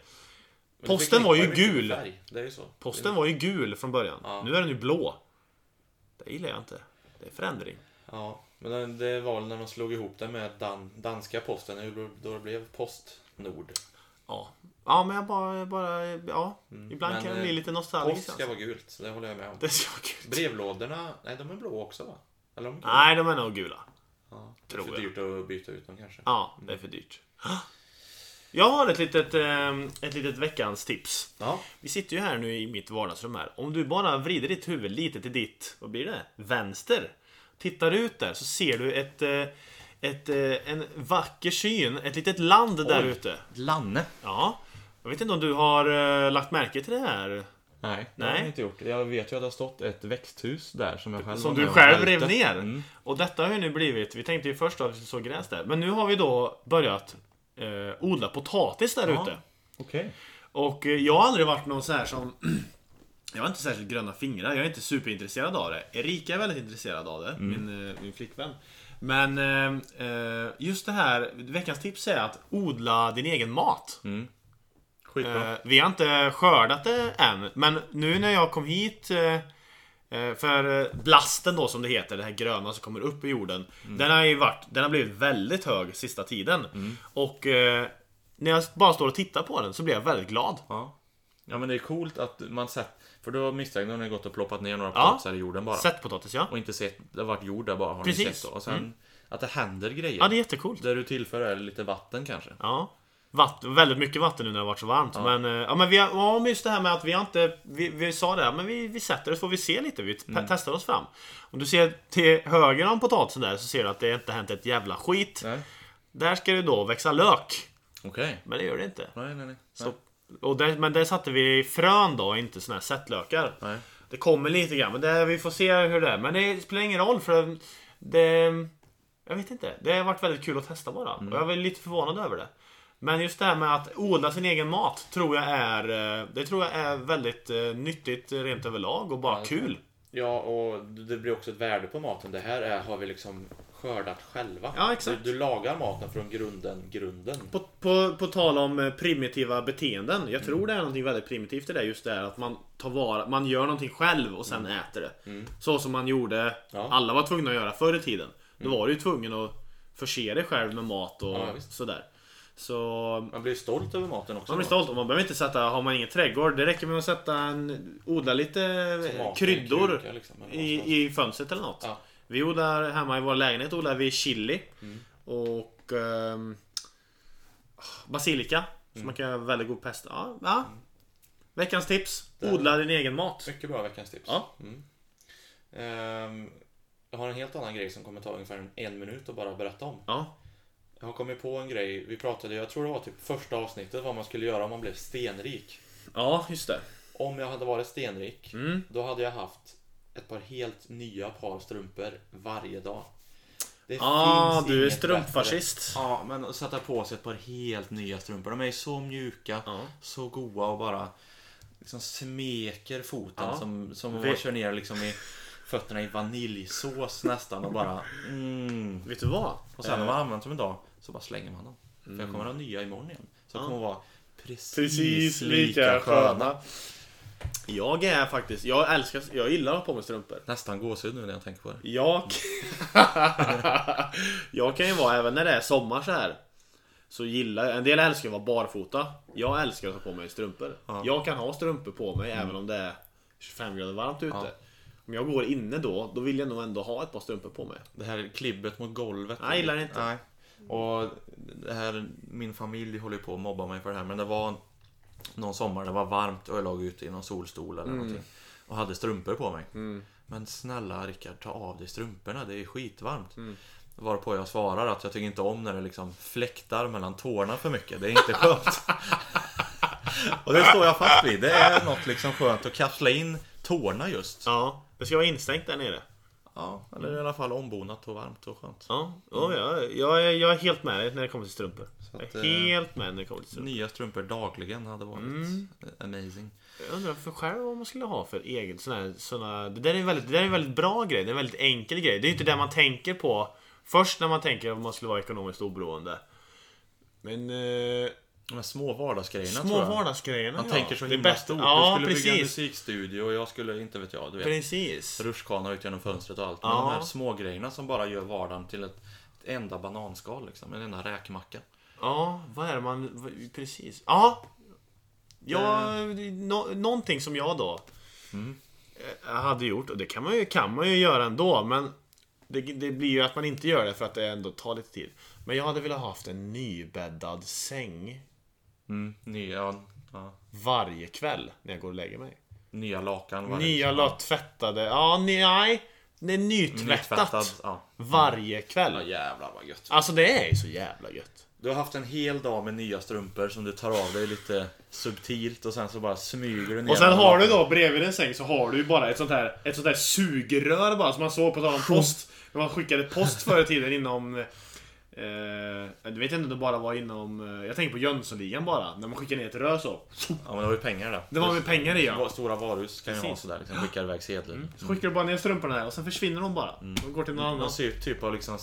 [SPEAKER 1] men
[SPEAKER 2] Posten
[SPEAKER 1] förknippar
[SPEAKER 2] var ju
[SPEAKER 1] mycket med
[SPEAKER 2] gul.
[SPEAKER 1] Färg. Det är ju så.
[SPEAKER 2] Posten var ju gul från början.
[SPEAKER 1] Mm. Ja.
[SPEAKER 2] Nu är den ju blå. Det gillar jag inte. Det är förändring.
[SPEAKER 1] Ja, men det- det var väl när man slog ihop det med dan, danska posten, då- då det blev Postnord.
[SPEAKER 2] Ja. Ja, men jag bara... bara ja. Ibland
[SPEAKER 1] Men,
[SPEAKER 2] kan det bli
[SPEAKER 1] eh,
[SPEAKER 2] lite nostalgiskt.
[SPEAKER 1] Post ska
[SPEAKER 2] Alltså.
[SPEAKER 1] vara gult, så det håller jag med om.
[SPEAKER 2] Det ska vara kul.
[SPEAKER 1] Brevlådorna, nej de är blå också va? Eller de är
[SPEAKER 2] Nej, de är nog gula.
[SPEAKER 1] ja,
[SPEAKER 2] tror
[SPEAKER 1] Det är
[SPEAKER 2] jag.
[SPEAKER 1] för dyrt att byta ut dem kanske.
[SPEAKER 2] Ja, det är för dyrt. Jag har ett litet, eh, ett litet veckans tips.
[SPEAKER 1] Ja.
[SPEAKER 2] Vi sitter ju här nu i mitt vardagsrum här. Om du bara vrider ditt huvud lite till ditt, vad blir det? Vänster. Tittar ut där så ser du ett, eh, ett, eh, en vacker syn, ett litet land där ute.
[SPEAKER 1] Lanne.
[SPEAKER 2] Ja. Jag vet inte om du har eh, lagt märke till det här?
[SPEAKER 1] Nej, det
[SPEAKER 2] Nej.
[SPEAKER 1] har jag inte gjort. Jag vet ju att det har stått ett växthus där som jag själv
[SPEAKER 2] Som
[SPEAKER 1] var
[SPEAKER 2] du
[SPEAKER 1] med om
[SPEAKER 2] själv
[SPEAKER 1] välte.
[SPEAKER 2] rev ner.
[SPEAKER 1] Mm.
[SPEAKER 2] Och detta har ju nu blivit, vi tänkte ju först att vi såg gräs där. Men nu har vi då börjat eh, odla potatis där
[SPEAKER 1] Ja.
[SPEAKER 2] ute.
[SPEAKER 1] Okej.
[SPEAKER 2] Och eh, jag har aldrig varit någon så här som... [CLEARS THROAT] Jag har inte särskilt gröna fingrar, jag är inte superintresserad av det. Erika är väldigt intresserad av det, min, eh, min flickvän. Men eh, eh, just det här, veckans tips är att odla din egen mat.
[SPEAKER 1] Skitbra.
[SPEAKER 2] Eh, vi har inte skördat det än, men nu när jag kom hit eh, eh, för eh, blasten då som det heter, det här gröna som kommer upp i jorden. Den har ju varit, den har blivit väldigt hög sista tiden. Och eh, när jag bara står och tittar på den så blir jag väldigt glad.
[SPEAKER 1] Ja. ja men det är coolt att man sett För då misstänker man har gått och ploppat ner några
[SPEAKER 2] Ja.
[SPEAKER 1] potatisar i jorden bara
[SPEAKER 2] Sett potatis ja.
[SPEAKER 1] Och inte sett, det har varit jord där bara har
[SPEAKER 2] Precis. Mm.
[SPEAKER 1] ni sett då. Och sen att det händer grejer
[SPEAKER 2] Ja det är jättecoolt.
[SPEAKER 1] Där du tillför är lite vatten kanske
[SPEAKER 2] Ja. Vatten, väldigt mycket vatten nu när det har varit så varmt. Men, eh, ja, men vi har, ja, men just det här med att vi har inte... Vi, vi sa det, här, men vi, vi sätter oss får vi se lite. Vi
[SPEAKER 1] Mm.
[SPEAKER 2] pe- testar oss fram. Om du ser till höger om potatisen där så ser du att det inte hänt ett jävla skit.
[SPEAKER 1] Nej
[SPEAKER 2] Där ska det då växa lök.
[SPEAKER 1] Okej
[SPEAKER 2] Men det gör det inte.
[SPEAKER 1] Nej nej nej
[SPEAKER 2] Så, och där, men där satte vi frön då, inte såna här sättlökar.
[SPEAKER 1] Nej.
[SPEAKER 2] Det kommer lite grann, men det, vi får se hur det är. Men det spelar ingen roll för det... Jag vet inte. Det har varit väldigt kul att testa bara. Och jag var lite förvånad över det. Men just det här med att odla sin egen mat tror jag är... eh, Det tror jag är väldigt eh, nyttigt eh, rent överlag och bara kul.
[SPEAKER 1] Ja och det blir också ett värde på maten Det här är, har vi liksom skördat själva
[SPEAKER 2] Ja, exakt.
[SPEAKER 1] du, du lagar maten från grunden, grunden
[SPEAKER 2] På, på, på tal om eh, primitiva beteenden. Jag
[SPEAKER 1] Mm.
[SPEAKER 2] tror det är någonting väldigt primitivt i det. Just det här att man tar vara, man gör någonting själv och sen äter det. Så som man gjorde,
[SPEAKER 1] Mm. Ja. Mm.
[SPEAKER 2] alla var tvungna att göra förr i tiden. Då var du ju tvungen att förse dig själv med mat och
[SPEAKER 1] Ja, visst.
[SPEAKER 2] sådär. Så
[SPEAKER 1] Man blir stolt över maten också
[SPEAKER 2] man blir
[SPEAKER 1] då.
[SPEAKER 2] stolt och man behöver inte sätta, har man ingen trädgård, det räcker med att sätta en, odla lite
[SPEAKER 1] Tomater,
[SPEAKER 2] kryddor
[SPEAKER 1] krukor, liksom, eller vad som helst.
[SPEAKER 2] i, i fönstret eller något.
[SPEAKER 1] Ja.
[SPEAKER 2] Vi odlar hemma i vår lägenhet odlar vi chili
[SPEAKER 1] Mm.
[SPEAKER 2] och ehm, ah, basilika.
[SPEAKER 1] Mm.
[SPEAKER 2] Så man kan göra väldigt god pesto. Ja, ja. Veckans tips. Odla din egen mat.
[SPEAKER 1] Mycket bra veckans tips
[SPEAKER 2] Ja.
[SPEAKER 1] mm. Ehm, Jag har en helt annan grej som kommer ta ungefär en- en minut att bara berätta om
[SPEAKER 2] Ja.
[SPEAKER 1] Jag har kommit på en grej. Vi pratade, jag tror det var typ första avsnittet, vad man skulle göra om man blev stenrik.
[SPEAKER 2] ja, just det.
[SPEAKER 1] Om jag hade varit stenrik,
[SPEAKER 2] Mm.
[SPEAKER 1] då hade jag haft ett par helt nya par strumpor varje dag. Det
[SPEAKER 2] Ah,
[SPEAKER 1] finns
[SPEAKER 2] du är
[SPEAKER 1] inget
[SPEAKER 2] strumpfascist.
[SPEAKER 1] bättre. Ja, men att sätta på sig ett par helt nya strumpor. De är så mjuka,
[SPEAKER 2] Ja.
[SPEAKER 1] så goa och bara liksom smeker foten
[SPEAKER 2] Ja.
[SPEAKER 1] som, som om
[SPEAKER 2] Vi-
[SPEAKER 1] man kör ner liksom i fötterna i vaniljsås nästan och bara mm.
[SPEAKER 2] Vet du vad?
[SPEAKER 1] Och sen när
[SPEAKER 2] Eh, Mm.
[SPEAKER 1] man använt dem en dag så bara slänger man dem. För jag kommer ha nya imorgon igen. Så de kommer vara precis,
[SPEAKER 2] Precis
[SPEAKER 1] lika,
[SPEAKER 2] lika
[SPEAKER 1] sköna.
[SPEAKER 2] sköna. Jag är faktiskt, jag älskar, jag gillar att ha på mig strumpor.
[SPEAKER 1] Nästan gåshud nu när jag tänker på det.
[SPEAKER 2] Jag... [LAUGHS] jag kan ju vara, även när det är sommar så här Så gillar jag, en del älskar att vara barfota Jag älskar att ha på mig strumpor
[SPEAKER 1] Ja.
[SPEAKER 2] Jag kan ha strumpor på mig även om det är 25 grader varmt ute
[SPEAKER 1] Ja.
[SPEAKER 2] Om jag går inne då, då vill jag nog ändå ha ett par strumpor på mig
[SPEAKER 1] Det här klibbet mot golvet.
[SPEAKER 2] Nej, jag gillar det inte.
[SPEAKER 1] Nej. Och det här, min familj håller ju på att mobba mig för det här. Men det var någon sommar, det var varmt och jag låg ute i någon solstol eller någonting. Och hade strumpor på mig. Men snälla Rickard, ta av dig strumporna. Det är skitvarmt. Varpå jag svarar att jag tycker inte om när det liksom fläktar mellan tårna för mycket. Det är inte [LAUGHS] skönt. och det står jag fast vid. Det är något liksom skönt att kapsla in tårna just.
[SPEAKER 2] Ja, det ska vara instängt där nere
[SPEAKER 1] Ja, eller i alla fall ombonat och varmt och skönt.
[SPEAKER 2] Ja, oh, ja jag, är, jag är helt med dig när det kommer till strumpor
[SPEAKER 1] att,
[SPEAKER 2] Jag
[SPEAKER 1] eh,
[SPEAKER 2] är helt med när det kommer till strumpor
[SPEAKER 1] Nya strumpor dagligen hade varit
[SPEAKER 2] Mm.
[SPEAKER 1] amazing.
[SPEAKER 2] Jag undrar för själv vad man skulle ha för egen sån här, sån här, det, där är en väldigt, det där är en väldigt bra grej, det är en väldigt enkel grej. Det är inte det man tänker på först när man tänker att man skulle vara ekonomiskt oberoende. Men eh,
[SPEAKER 1] De här små vardagsgrejerna
[SPEAKER 2] små
[SPEAKER 1] tror jag.
[SPEAKER 2] vardagsgrejerna
[SPEAKER 1] Man
[SPEAKER 2] ja.
[SPEAKER 1] tänker så
[SPEAKER 2] Det
[SPEAKER 1] himla
[SPEAKER 2] bästa-
[SPEAKER 1] stort.
[SPEAKER 2] Ja,
[SPEAKER 1] du skulle bygga en
[SPEAKER 2] precis.
[SPEAKER 1] musikstudio och jag skulle, inte vet jag, du vet.
[SPEAKER 2] Precis.
[SPEAKER 1] Rutschkana ut genom fönstret och allt. Men
[SPEAKER 2] Ja.
[SPEAKER 1] de här små grejerna som bara gör vardagen till ett, ett enda bananskal liksom. En enda räkmacka.
[SPEAKER 2] Ja, vad är det man... vad- Precis. Ja! Ja,
[SPEAKER 1] Eh.
[SPEAKER 2] nå- någonting som jag då
[SPEAKER 1] Mm.
[SPEAKER 2] eh, hade gjort, och det kan man ju, kan man ju göra ändå, men det, det blir ju att man inte gör det för att det ändå tar lite tid. Men jag hade velat ha haft en nybäddad säng
[SPEAKER 1] Mm. Nya, ja,
[SPEAKER 2] varje kväll när jag går och lägger mig.
[SPEAKER 1] nya lakan. varje-
[SPEAKER 2] Nya la tvättade, ja ni, nej, det är nytvättat
[SPEAKER 1] Nytvättad. Ja.
[SPEAKER 2] varje
[SPEAKER 1] ja
[SPEAKER 2] kväll.
[SPEAKER 1] jävlar vad gött.
[SPEAKER 2] Alltså det är ju så jävla gött.
[SPEAKER 1] Du har haft en hel dag med nya strumpor som du tar av dig lite subtilt och sen så bara smyger du ner
[SPEAKER 2] Och sen
[SPEAKER 1] dem.
[SPEAKER 2] har du då bredvid en säng så har du ju bara ett sånt här, ett sånt här sugrör bara som man såg på tal om post. När man skickade post förr i tiden inom... Eh, jag vet inte om det bara var inom... eh, Jag tänker på Jönssonligan bara. När man skickar ner ett rör så.
[SPEAKER 1] Ja men det var ju pengar där.
[SPEAKER 2] Det var med pengar i ja.
[SPEAKER 1] Va- Stora varuhus kan ju
[SPEAKER 2] Precis.
[SPEAKER 1] ha sådär, liksom, skickar iväg sedlar.
[SPEAKER 2] Så skickar du bara ner strumporna där och sen försvinner de bara.
[SPEAKER 1] Mm.
[SPEAKER 2] De går till någon annan.
[SPEAKER 1] Man ser ju typ av liksom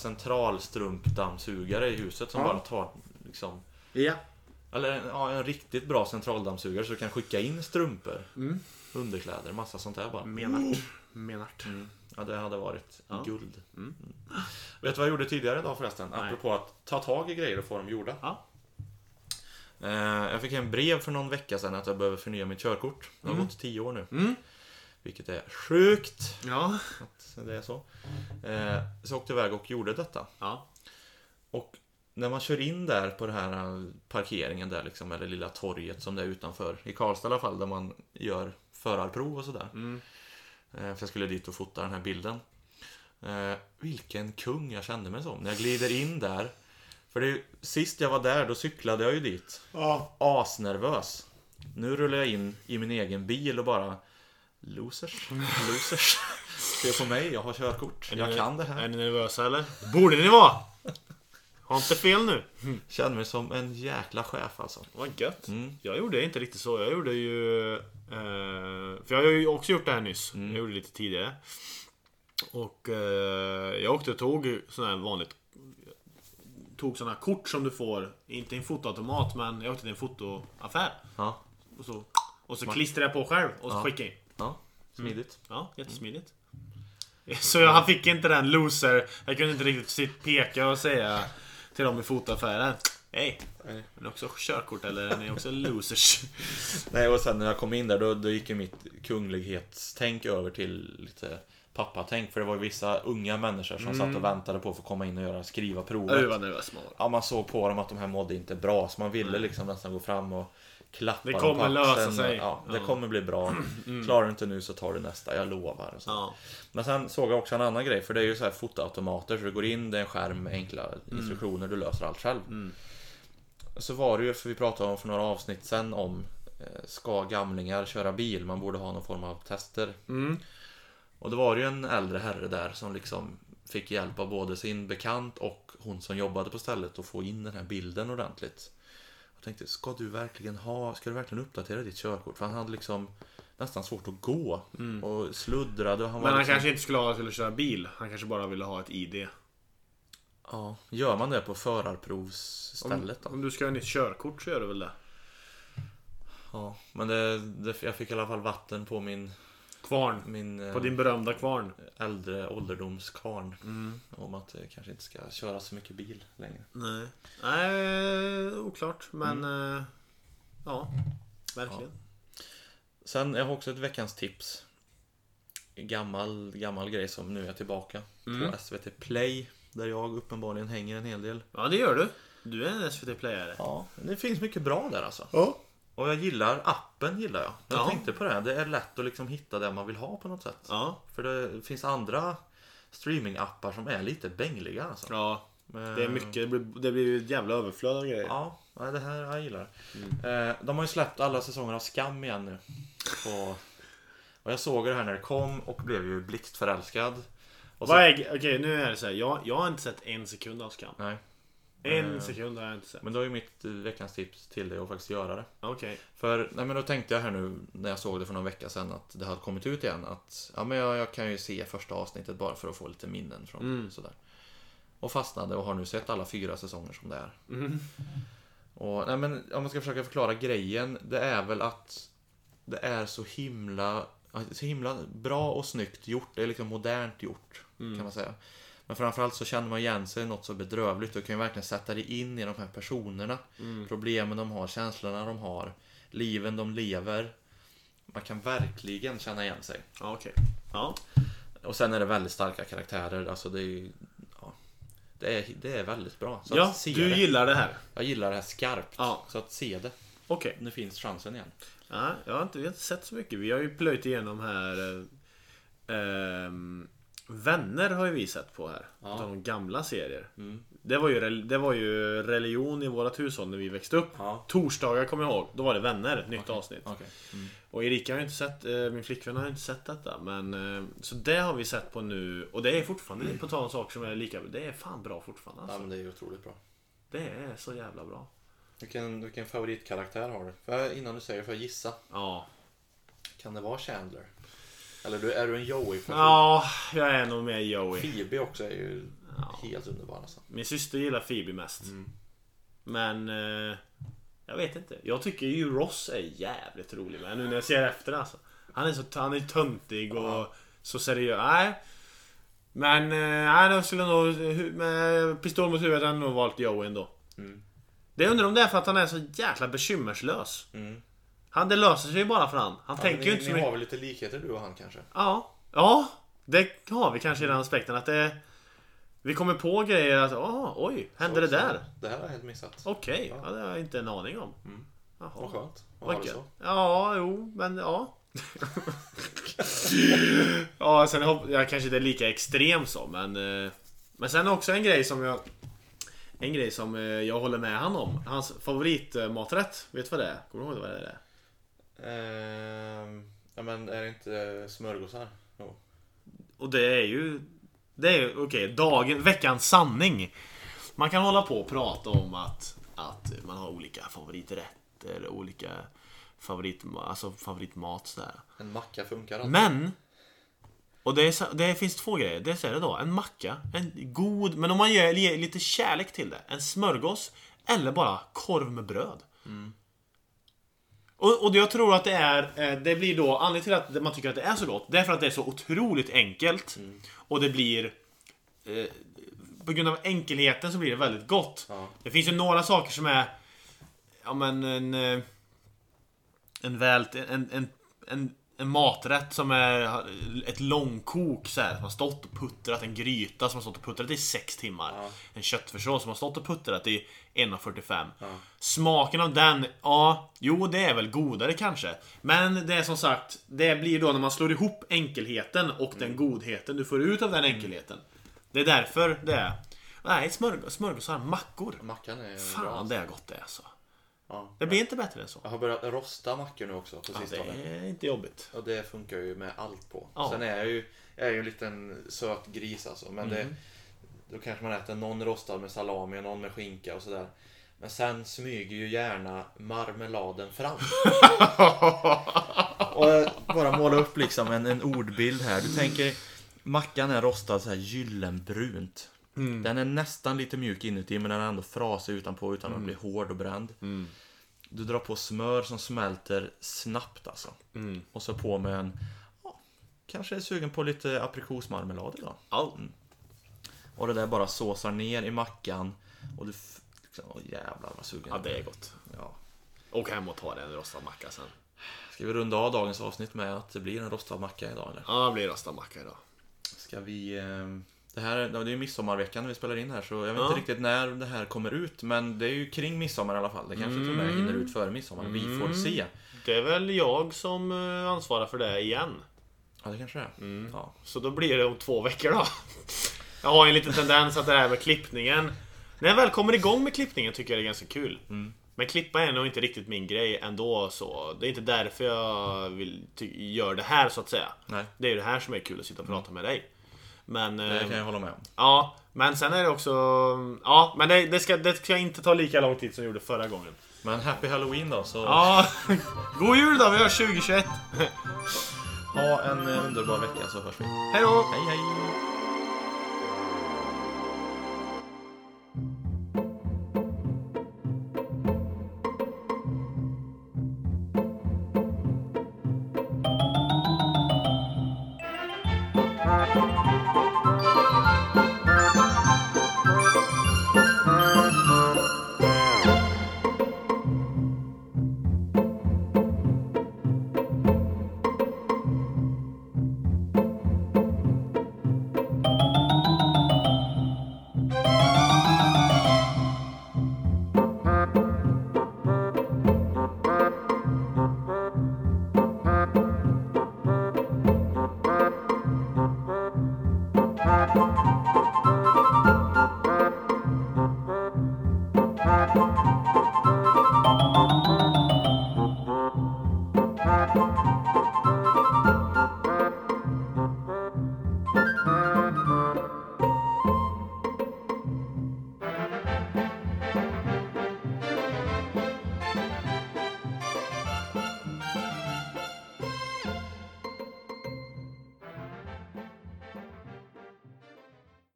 [SPEAKER 1] centralstrumpdammsugare i huset som
[SPEAKER 2] Ja.
[SPEAKER 1] bara tar liksom
[SPEAKER 2] Ja.
[SPEAKER 1] Eller en, ja, en riktigt bra centraldammsugare så du kan skicka in strumpor
[SPEAKER 2] Mm.
[SPEAKER 1] Underkläder, massa sånt där bara Mm.
[SPEAKER 2] Menart. Menart.
[SPEAKER 1] Ja det hade varit
[SPEAKER 2] Mm. Ja.
[SPEAKER 1] guld Mm. Vet du vad jag gjorde tidigare idag förresten?
[SPEAKER 2] Nej.
[SPEAKER 1] Apropå att ta tag i grejer och få dem gjorda
[SPEAKER 2] Ja.
[SPEAKER 1] Eh, Jag fick en brev för någon vecka sedan att jag behöver förnya mitt körkort Det har gått 10 år nu
[SPEAKER 2] Mm.
[SPEAKER 1] Vilket är sjukt
[SPEAKER 2] Ja.
[SPEAKER 1] att det är så. Eh, så jag åkte iväg och gjorde detta.
[SPEAKER 2] Ja.
[SPEAKER 1] Och när man kör in där på den här eh, parkeringen där liksom, eller lilla torget som det är utanför, i Karlstad i alla fall, där man gör förarprov och sådär.
[SPEAKER 2] Mm.
[SPEAKER 1] Eh, för jag skulle dit och fota den här bilden. Eh, vilken kung jag kände mig som när jag glider in där. För det är ju, sist jag var där, då cyklade jag ju dit
[SPEAKER 2] Ja.
[SPEAKER 1] asnervös. Nu rullar jag in i min egen bil och bara Losers, losers. Se på mig, jag har körkort. Jag kan det
[SPEAKER 2] Är
[SPEAKER 1] här.
[SPEAKER 2] ni nervösa eller? Borde ni vara! Har inte fel nu.
[SPEAKER 1] Känner mig som en jäkla chef alltså.
[SPEAKER 2] Vad gött.
[SPEAKER 1] Mm.
[SPEAKER 2] Jag gjorde inte riktigt så. Jag gjorde ju... Eh, för jag har ju också gjort det här nyss.
[SPEAKER 1] Mm.
[SPEAKER 2] Jag gjorde det lite tidigare. Och eh, jag åkte och tog sån här vanligt... Tog såna här kort som du får. Inte i en fotoautomat men jag åkte till en fotoaffär.
[SPEAKER 1] Ja,
[SPEAKER 2] Och så, och så klistrade jag på själv och så
[SPEAKER 1] Ja. Mm.
[SPEAKER 2] skickade jag in.
[SPEAKER 1] ja. smidigt.
[SPEAKER 2] Ja, jättesmidigt. [LAUGHS] Så jag han fick inte den loser. Jag kunde inte riktigt sit- peka och säga till dem i fotoaffären. Hej! Är ni också körkort eller är ni också losers?
[SPEAKER 1] Nej, och sen när jag kom in där då, då gick ju mitt kunglighetstänk över till lite pappatänk. För det var ju vissa unga människor som satt och väntade på att få komma in och göra skriva provet.
[SPEAKER 2] vad nervös man var.
[SPEAKER 1] Ja, man såg på dem att de här mådde inte bra, så man ville liksom nästan gå fram och klappa
[SPEAKER 2] Det
[SPEAKER 1] dem
[SPEAKER 2] kommer
[SPEAKER 1] på axeln
[SPEAKER 2] lösa sig.
[SPEAKER 1] och, Ja, Mm. det
[SPEAKER 2] Ja.
[SPEAKER 1] kommer bli bra. Klarar du inte nu så tar du nästa, jag lovar. Och så.
[SPEAKER 2] Ja.
[SPEAKER 1] Men sen såg jag också en annan grej, för det är ju så här fotoautomater, så du går in, det är en skärm med enkla
[SPEAKER 2] Mm.
[SPEAKER 1] instruktioner, du löser allt själv. Så var det ju, för vi pratade om för några avsnitt sen om eh, Ska gamlingar köra bil? Man borde ha någon form av tester.
[SPEAKER 2] Mm.
[SPEAKER 1] Och det var ju en äldre herre där som liksom fick hjälp av både sin bekant och hon som jobbade på stället att få in den här bilden ordentligt. tänkte, ska du verkligen ha, ska du verkligen uppdatera ditt körkort? För han hade liksom nästan svårt att gå och sluddrade och han var
[SPEAKER 2] Mm. Men han
[SPEAKER 1] liksom,
[SPEAKER 2] kanske inte skulle ha till att köra bil. Han kanske bara ville ha ett ID.
[SPEAKER 1] ja, Gör man det på förarprovsstället då?
[SPEAKER 2] Om du ska ha nytt körkort så gör du väl det?
[SPEAKER 1] Ja, men det, det, jag fick i alla fall vatten på min,
[SPEAKER 2] Kvarn.
[SPEAKER 1] min eh,
[SPEAKER 2] På din berömda kvarn.
[SPEAKER 1] äldre ålderdomskarn
[SPEAKER 2] Mm.
[SPEAKER 1] Om att det kanske inte ska köra så mycket bil längre.
[SPEAKER 2] Nej. Nej, oklart. Men... eh, Ja. Verkligen.
[SPEAKER 1] Sen, jag har också ett veckans tips. Gammal, gammal grej som nu är tillbaka
[SPEAKER 2] Mm.
[SPEAKER 1] på SVT Play. Där jag uppenbarligen hänger en hel del.
[SPEAKER 2] Ja. det gör du. Du är en SVT-playare.
[SPEAKER 1] Ja, det finns mycket bra där alltså.
[SPEAKER 2] Ja.
[SPEAKER 1] Och jag gillar appen, gillar jag. Jag
[SPEAKER 2] Ja.
[SPEAKER 1] tänkte på det, här. det är lätt att liksom hitta det man vill ha på något sätt.
[SPEAKER 2] Ja.
[SPEAKER 1] För det finns andra streamingappar som är lite bängliga alltså.
[SPEAKER 2] Ja.
[SPEAKER 1] Men-
[SPEAKER 2] Det är mycket. Det blir, det blir ju ett jävla överflöd av grejer.
[SPEAKER 1] Ja, nej, det här jag gillar
[SPEAKER 2] Mm.
[SPEAKER 1] eh, De har ju släppt alla säsonger av Skam igen nu. Och, och jag såg det här när det kom och blev ju blixtförälskad. Och så-
[SPEAKER 2] Vad är... Okej, nu är det så här. Jag, jag har inte sett en sekund av Skam.
[SPEAKER 1] Nej,
[SPEAKER 2] En
[SPEAKER 1] Eh.
[SPEAKER 2] sekund har jag inte sett.
[SPEAKER 1] men då är ju mitt eh, veckans tips till dig att faktiskt göra det.
[SPEAKER 2] Okej.
[SPEAKER 1] För nej, men då tänkte jag här nu när jag såg det för någon vecka sedan att det hade kommit ut igen att ja, men jag, jag kan ju se första avsnittet bara för att få lite minnen från sådär. Och fastnade och har nu sett alla fyra säsonger som det är. Och, nej, men om man ska försöka förklara grejen, det är väl att det är så himla, så himla bra och snyggt gjort. Det är liksom modernt gjort,
[SPEAKER 2] Mm.
[SPEAKER 1] kan man säga. Men framförallt så känner man igen sig i något så bedrövligt. Du kan ju verkligen sätta dig in i de här personerna.
[SPEAKER 2] Mm.
[SPEAKER 1] Problemen de har, känslorna de har, liven de lever. Man kan verkligen känna igen sig.
[SPEAKER 2] Ja, okej. Ja.
[SPEAKER 1] Och sen är det väldigt starka karaktärer. Alltså det är ju- ja, det är, det är väldigt bra. Så
[SPEAKER 2] ja,
[SPEAKER 1] att se
[SPEAKER 2] du
[SPEAKER 1] det.
[SPEAKER 2] gillar det här.
[SPEAKER 1] Jag gillar det här skarpt.
[SPEAKER 2] Ja.
[SPEAKER 1] Så att se det.
[SPEAKER 2] Okej.
[SPEAKER 1] Nu finns chansen igen.
[SPEAKER 2] Ja, jag har inte vi har inte sett så mycket. Vi har ju plöjt igenom här... Eh, ehm, vänner har ju vi sett på här.
[SPEAKER 1] Ja. Mm.
[SPEAKER 2] Utav de gamla serier. Det, var ju, rel- det var ju religion i vårt hushåll när vi växte upp.
[SPEAKER 1] Ja.
[SPEAKER 2] Torsdagar kommer jag ihåg. Då var det vänner, ett nytt avsnitt.
[SPEAKER 1] Okej. Mm.
[SPEAKER 2] Och Erika har ju inte sett, eh, min flickvän har ju inte sett detta. Men, eh, så det har vi sett på nu. Och det är fortfarande, på tal om saker som är lika Det är fan bra fortfarande
[SPEAKER 1] Ja,
[SPEAKER 2] alltså.
[SPEAKER 1] men det är ju otroligt bra.
[SPEAKER 2] Det är så jävla bra.
[SPEAKER 1] Vilken, vilken favoritkaraktär har du? Får jag- innan du säger, får jag gissa?
[SPEAKER 2] Ja.
[SPEAKER 1] Kan det vara Chandler? Eller du, är du en Joey?
[SPEAKER 2] Ja, jag är nog med Joey.
[SPEAKER 1] Phoebe också är ju
[SPEAKER 2] Ja.
[SPEAKER 1] helt underbar alltså.
[SPEAKER 2] Min syster gillar Phoebe mest.
[SPEAKER 1] Mm.
[SPEAKER 2] Men... Eh, jag vet inte. Jag tycker ju Ross är jävligt rolig med. Nu när jag ser efter alltså. Han är så han är töntig och så seriös. Nej. Men eh, nej, jag skulle nog... hu- Med pistol mot huvudet hade jag nog valt Joey ändå.
[SPEAKER 1] Mm.
[SPEAKER 2] Det jag undrar om det är för att han är så jäkla bekymmerslös.
[SPEAKER 1] Mm.
[SPEAKER 2] Han, det löser sig ju bara för han. Han tänker
[SPEAKER 1] ni,
[SPEAKER 2] ju inte så
[SPEAKER 1] ni
[SPEAKER 2] mycket.
[SPEAKER 1] har väl lite likheter du och han kanske?
[SPEAKER 2] Ja. Ja, det har vi kanske i den aspekten att det... Vi kommer på grejer att, ah, oj, hände det
[SPEAKER 1] Så-
[SPEAKER 2] där?
[SPEAKER 1] så- Det här har jag helt missat.
[SPEAKER 2] Okej,
[SPEAKER 1] Ja.
[SPEAKER 2] ja. det har jag inte en aning om.
[SPEAKER 1] Mm.
[SPEAKER 2] Jaha.
[SPEAKER 1] Vad skönt. Vad
[SPEAKER 2] Vad
[SPEAKER 1] har du
[SPEAKER 2] gött.
[SPEAKER 1] så?
[SPEAKER 2] Ja, jo,
[SPEAKER 1] [LAUGHS]
[SPEAKER 2] men ja. ja, sen hopp- jag kanske inte är lika extrem så, men... eh, Men sen också en grej som jag... En grej som eh, jag håller med han om. Hans favoritmaträtt, vet du vad det är? Kommer du ihåg vad det är?
[SPEAKER 1] Ehm, ja men är det inte eh, smörgåsar? Jo.
[SPEAKER 2] Och det är ju... Det är ju, okej, dagen, veckans sanning. Man kan hålla på och prata om att, att man har olika favoriträtter, olika favorit, alltså favoritmat sådär.
[SPEAKER 1] En macka funkar alltid.
[SPEAKER 2] Men! Och det, är, så- det finns två grejer. Dels är det då en macka, en god, men om man ger, ger lite kärlek till det. En smörgås eller bara korv med bröd. Och, och jag tror att det är, eh, det blir då, anledningen till att man tycker att det är så gott, det är för att det är så otroligt enkelt. Och det blir, eh, på grund av enkelheten så blir det väldigt gott.
[SPEAKER 1] Ja.
[SPEAKER 2] Det finns ju några saker som är, ja men en, eh, en väl, en, en, en, en maträtt som är ett långkok så här, som har stått och puttrat, en gryta som har stått och puttrat i 6 timmar.
[SPEAKER 1] Ja.
[SPEAKER 2] En köttfärssås som har stått och puttrat i 1.45.
[SPEAKER 1] Ja.
[SPEAKER 2] Smaken av den, ja, jo det är väl godare kanske. Men det är som sagt, det blir då när man slår ihop enkelheten och
[SPEAKER 1] Mm.
[SPEAKER 2] den godheten du får ut av den enkelheten. Det är därför det är. Nej, smörgås, smörgåsar, mackor.
[SPEAKER 1] Mackan är bra.
[SPEAKER 2] Fan det är gott det är alltså.
[SPEAKER 1] Ja.
[SPEAKER 2] Det blir inte bättre än så.
[SPEAKER 1] Jag har börjat rosta mackor nu också på
[SPEAKER 2] Ja,
[SPEAKER 1] sistone.
[SPEAKER 2] det är inte jobbigt.
[SPEAKER 1] Och det funkar ju med allt på.
[SPEAKER 2] Ja.
[SPEAKER 1] Sen är jag ju, jag är ju en liten söt Mhm. gris alltså. Men det, då kanske man äter någon rostad med salami och någon med skinka och sådär. Men sen smyger ju gärna marmeladen fram. [LAUGHS] Och jag bara måla upp liksom en, en ordbild här. Du tänker Mackan är rostad så här gyllenbrunt. Den är nästan lite mjuk inuti men den är ändå frasig utanpå utan att bli hård och bränd. Du drar på smör som smälter snabbt alltså. Och så på med en ja, Kanske är sugen på lite aprikosmarmelad idag.
[SPEAKER 2] Ja.
[SPEAKER 1] Och det där bara såsar ner i mackan. Och du f- liksom, åh jävlar vad sugen
[SPEAKER 2] ja,
[SPEAKER 1] jag
[SPEAKER 2] det är
[SPEAKER 1] blev.
[SPEAKER 2] gott.
[SPEAKER 1] Ja.
[SPEAKER 2] Åk hem och ta dig en rostad macka sen.
[SPEAKER 1] Ska vi runda av dagens avsnitt med att det blir en rostad macka idag eller?
[SPEAKER 2] Ja, det blir rostad macka idag.
[SPEAKER 1] Ska vi... eh, Det här det är ju midsommarveckan när vi spelar in här så jag vet
[SPEAKER 2] Ja.
[SPEAKER 1] inte riktigt när det här kommer ut men det är ju kring midsommar i alla fall. Det kanske till och med hinner ut före midsommar. Vi får se.
[SPEAKER 2] Det är väl jag som eh, ansvarar för det igen.
[SPEAKER 1] Ja det kanske det är. Ja.
[SPEAKER 2] Så då blir det om två veckor då. [LAUGHS] Jag har ju en liten tendens att det här med klippningen. När jag väl kommer igång med klippningen tycker jag det är ganska kul. Men klippa är nog inte riktigt min grej ändå så. Det är inte därför jag vill ty- gör det här så att säga.
[SPEAKER 1] Nej.
[SPEAKER 2] Det är ju det här som är kul att sitta och prata med dig. Men,
[SPEAKER 1] Det
[SPEAKER 2] eh,
[SPEAKER 1] kan jag hålla med om.
[SPEAKER 2] ja, men sen är det också... Ja, men det, det, ska, det ska inte ta lika lång tid som det gjorde förra gången.
[SPEAKER 1] Men happy halloween då så
[SPEAKER 2] Ja, [LAUGHS] god jul då! Vi hörs 2021!
[SPEAKER 1] ha en eh, underbar vecka så hörs vi.
[SPEAKER 2] Hej då!
[SPEAKER 1] Hej hej!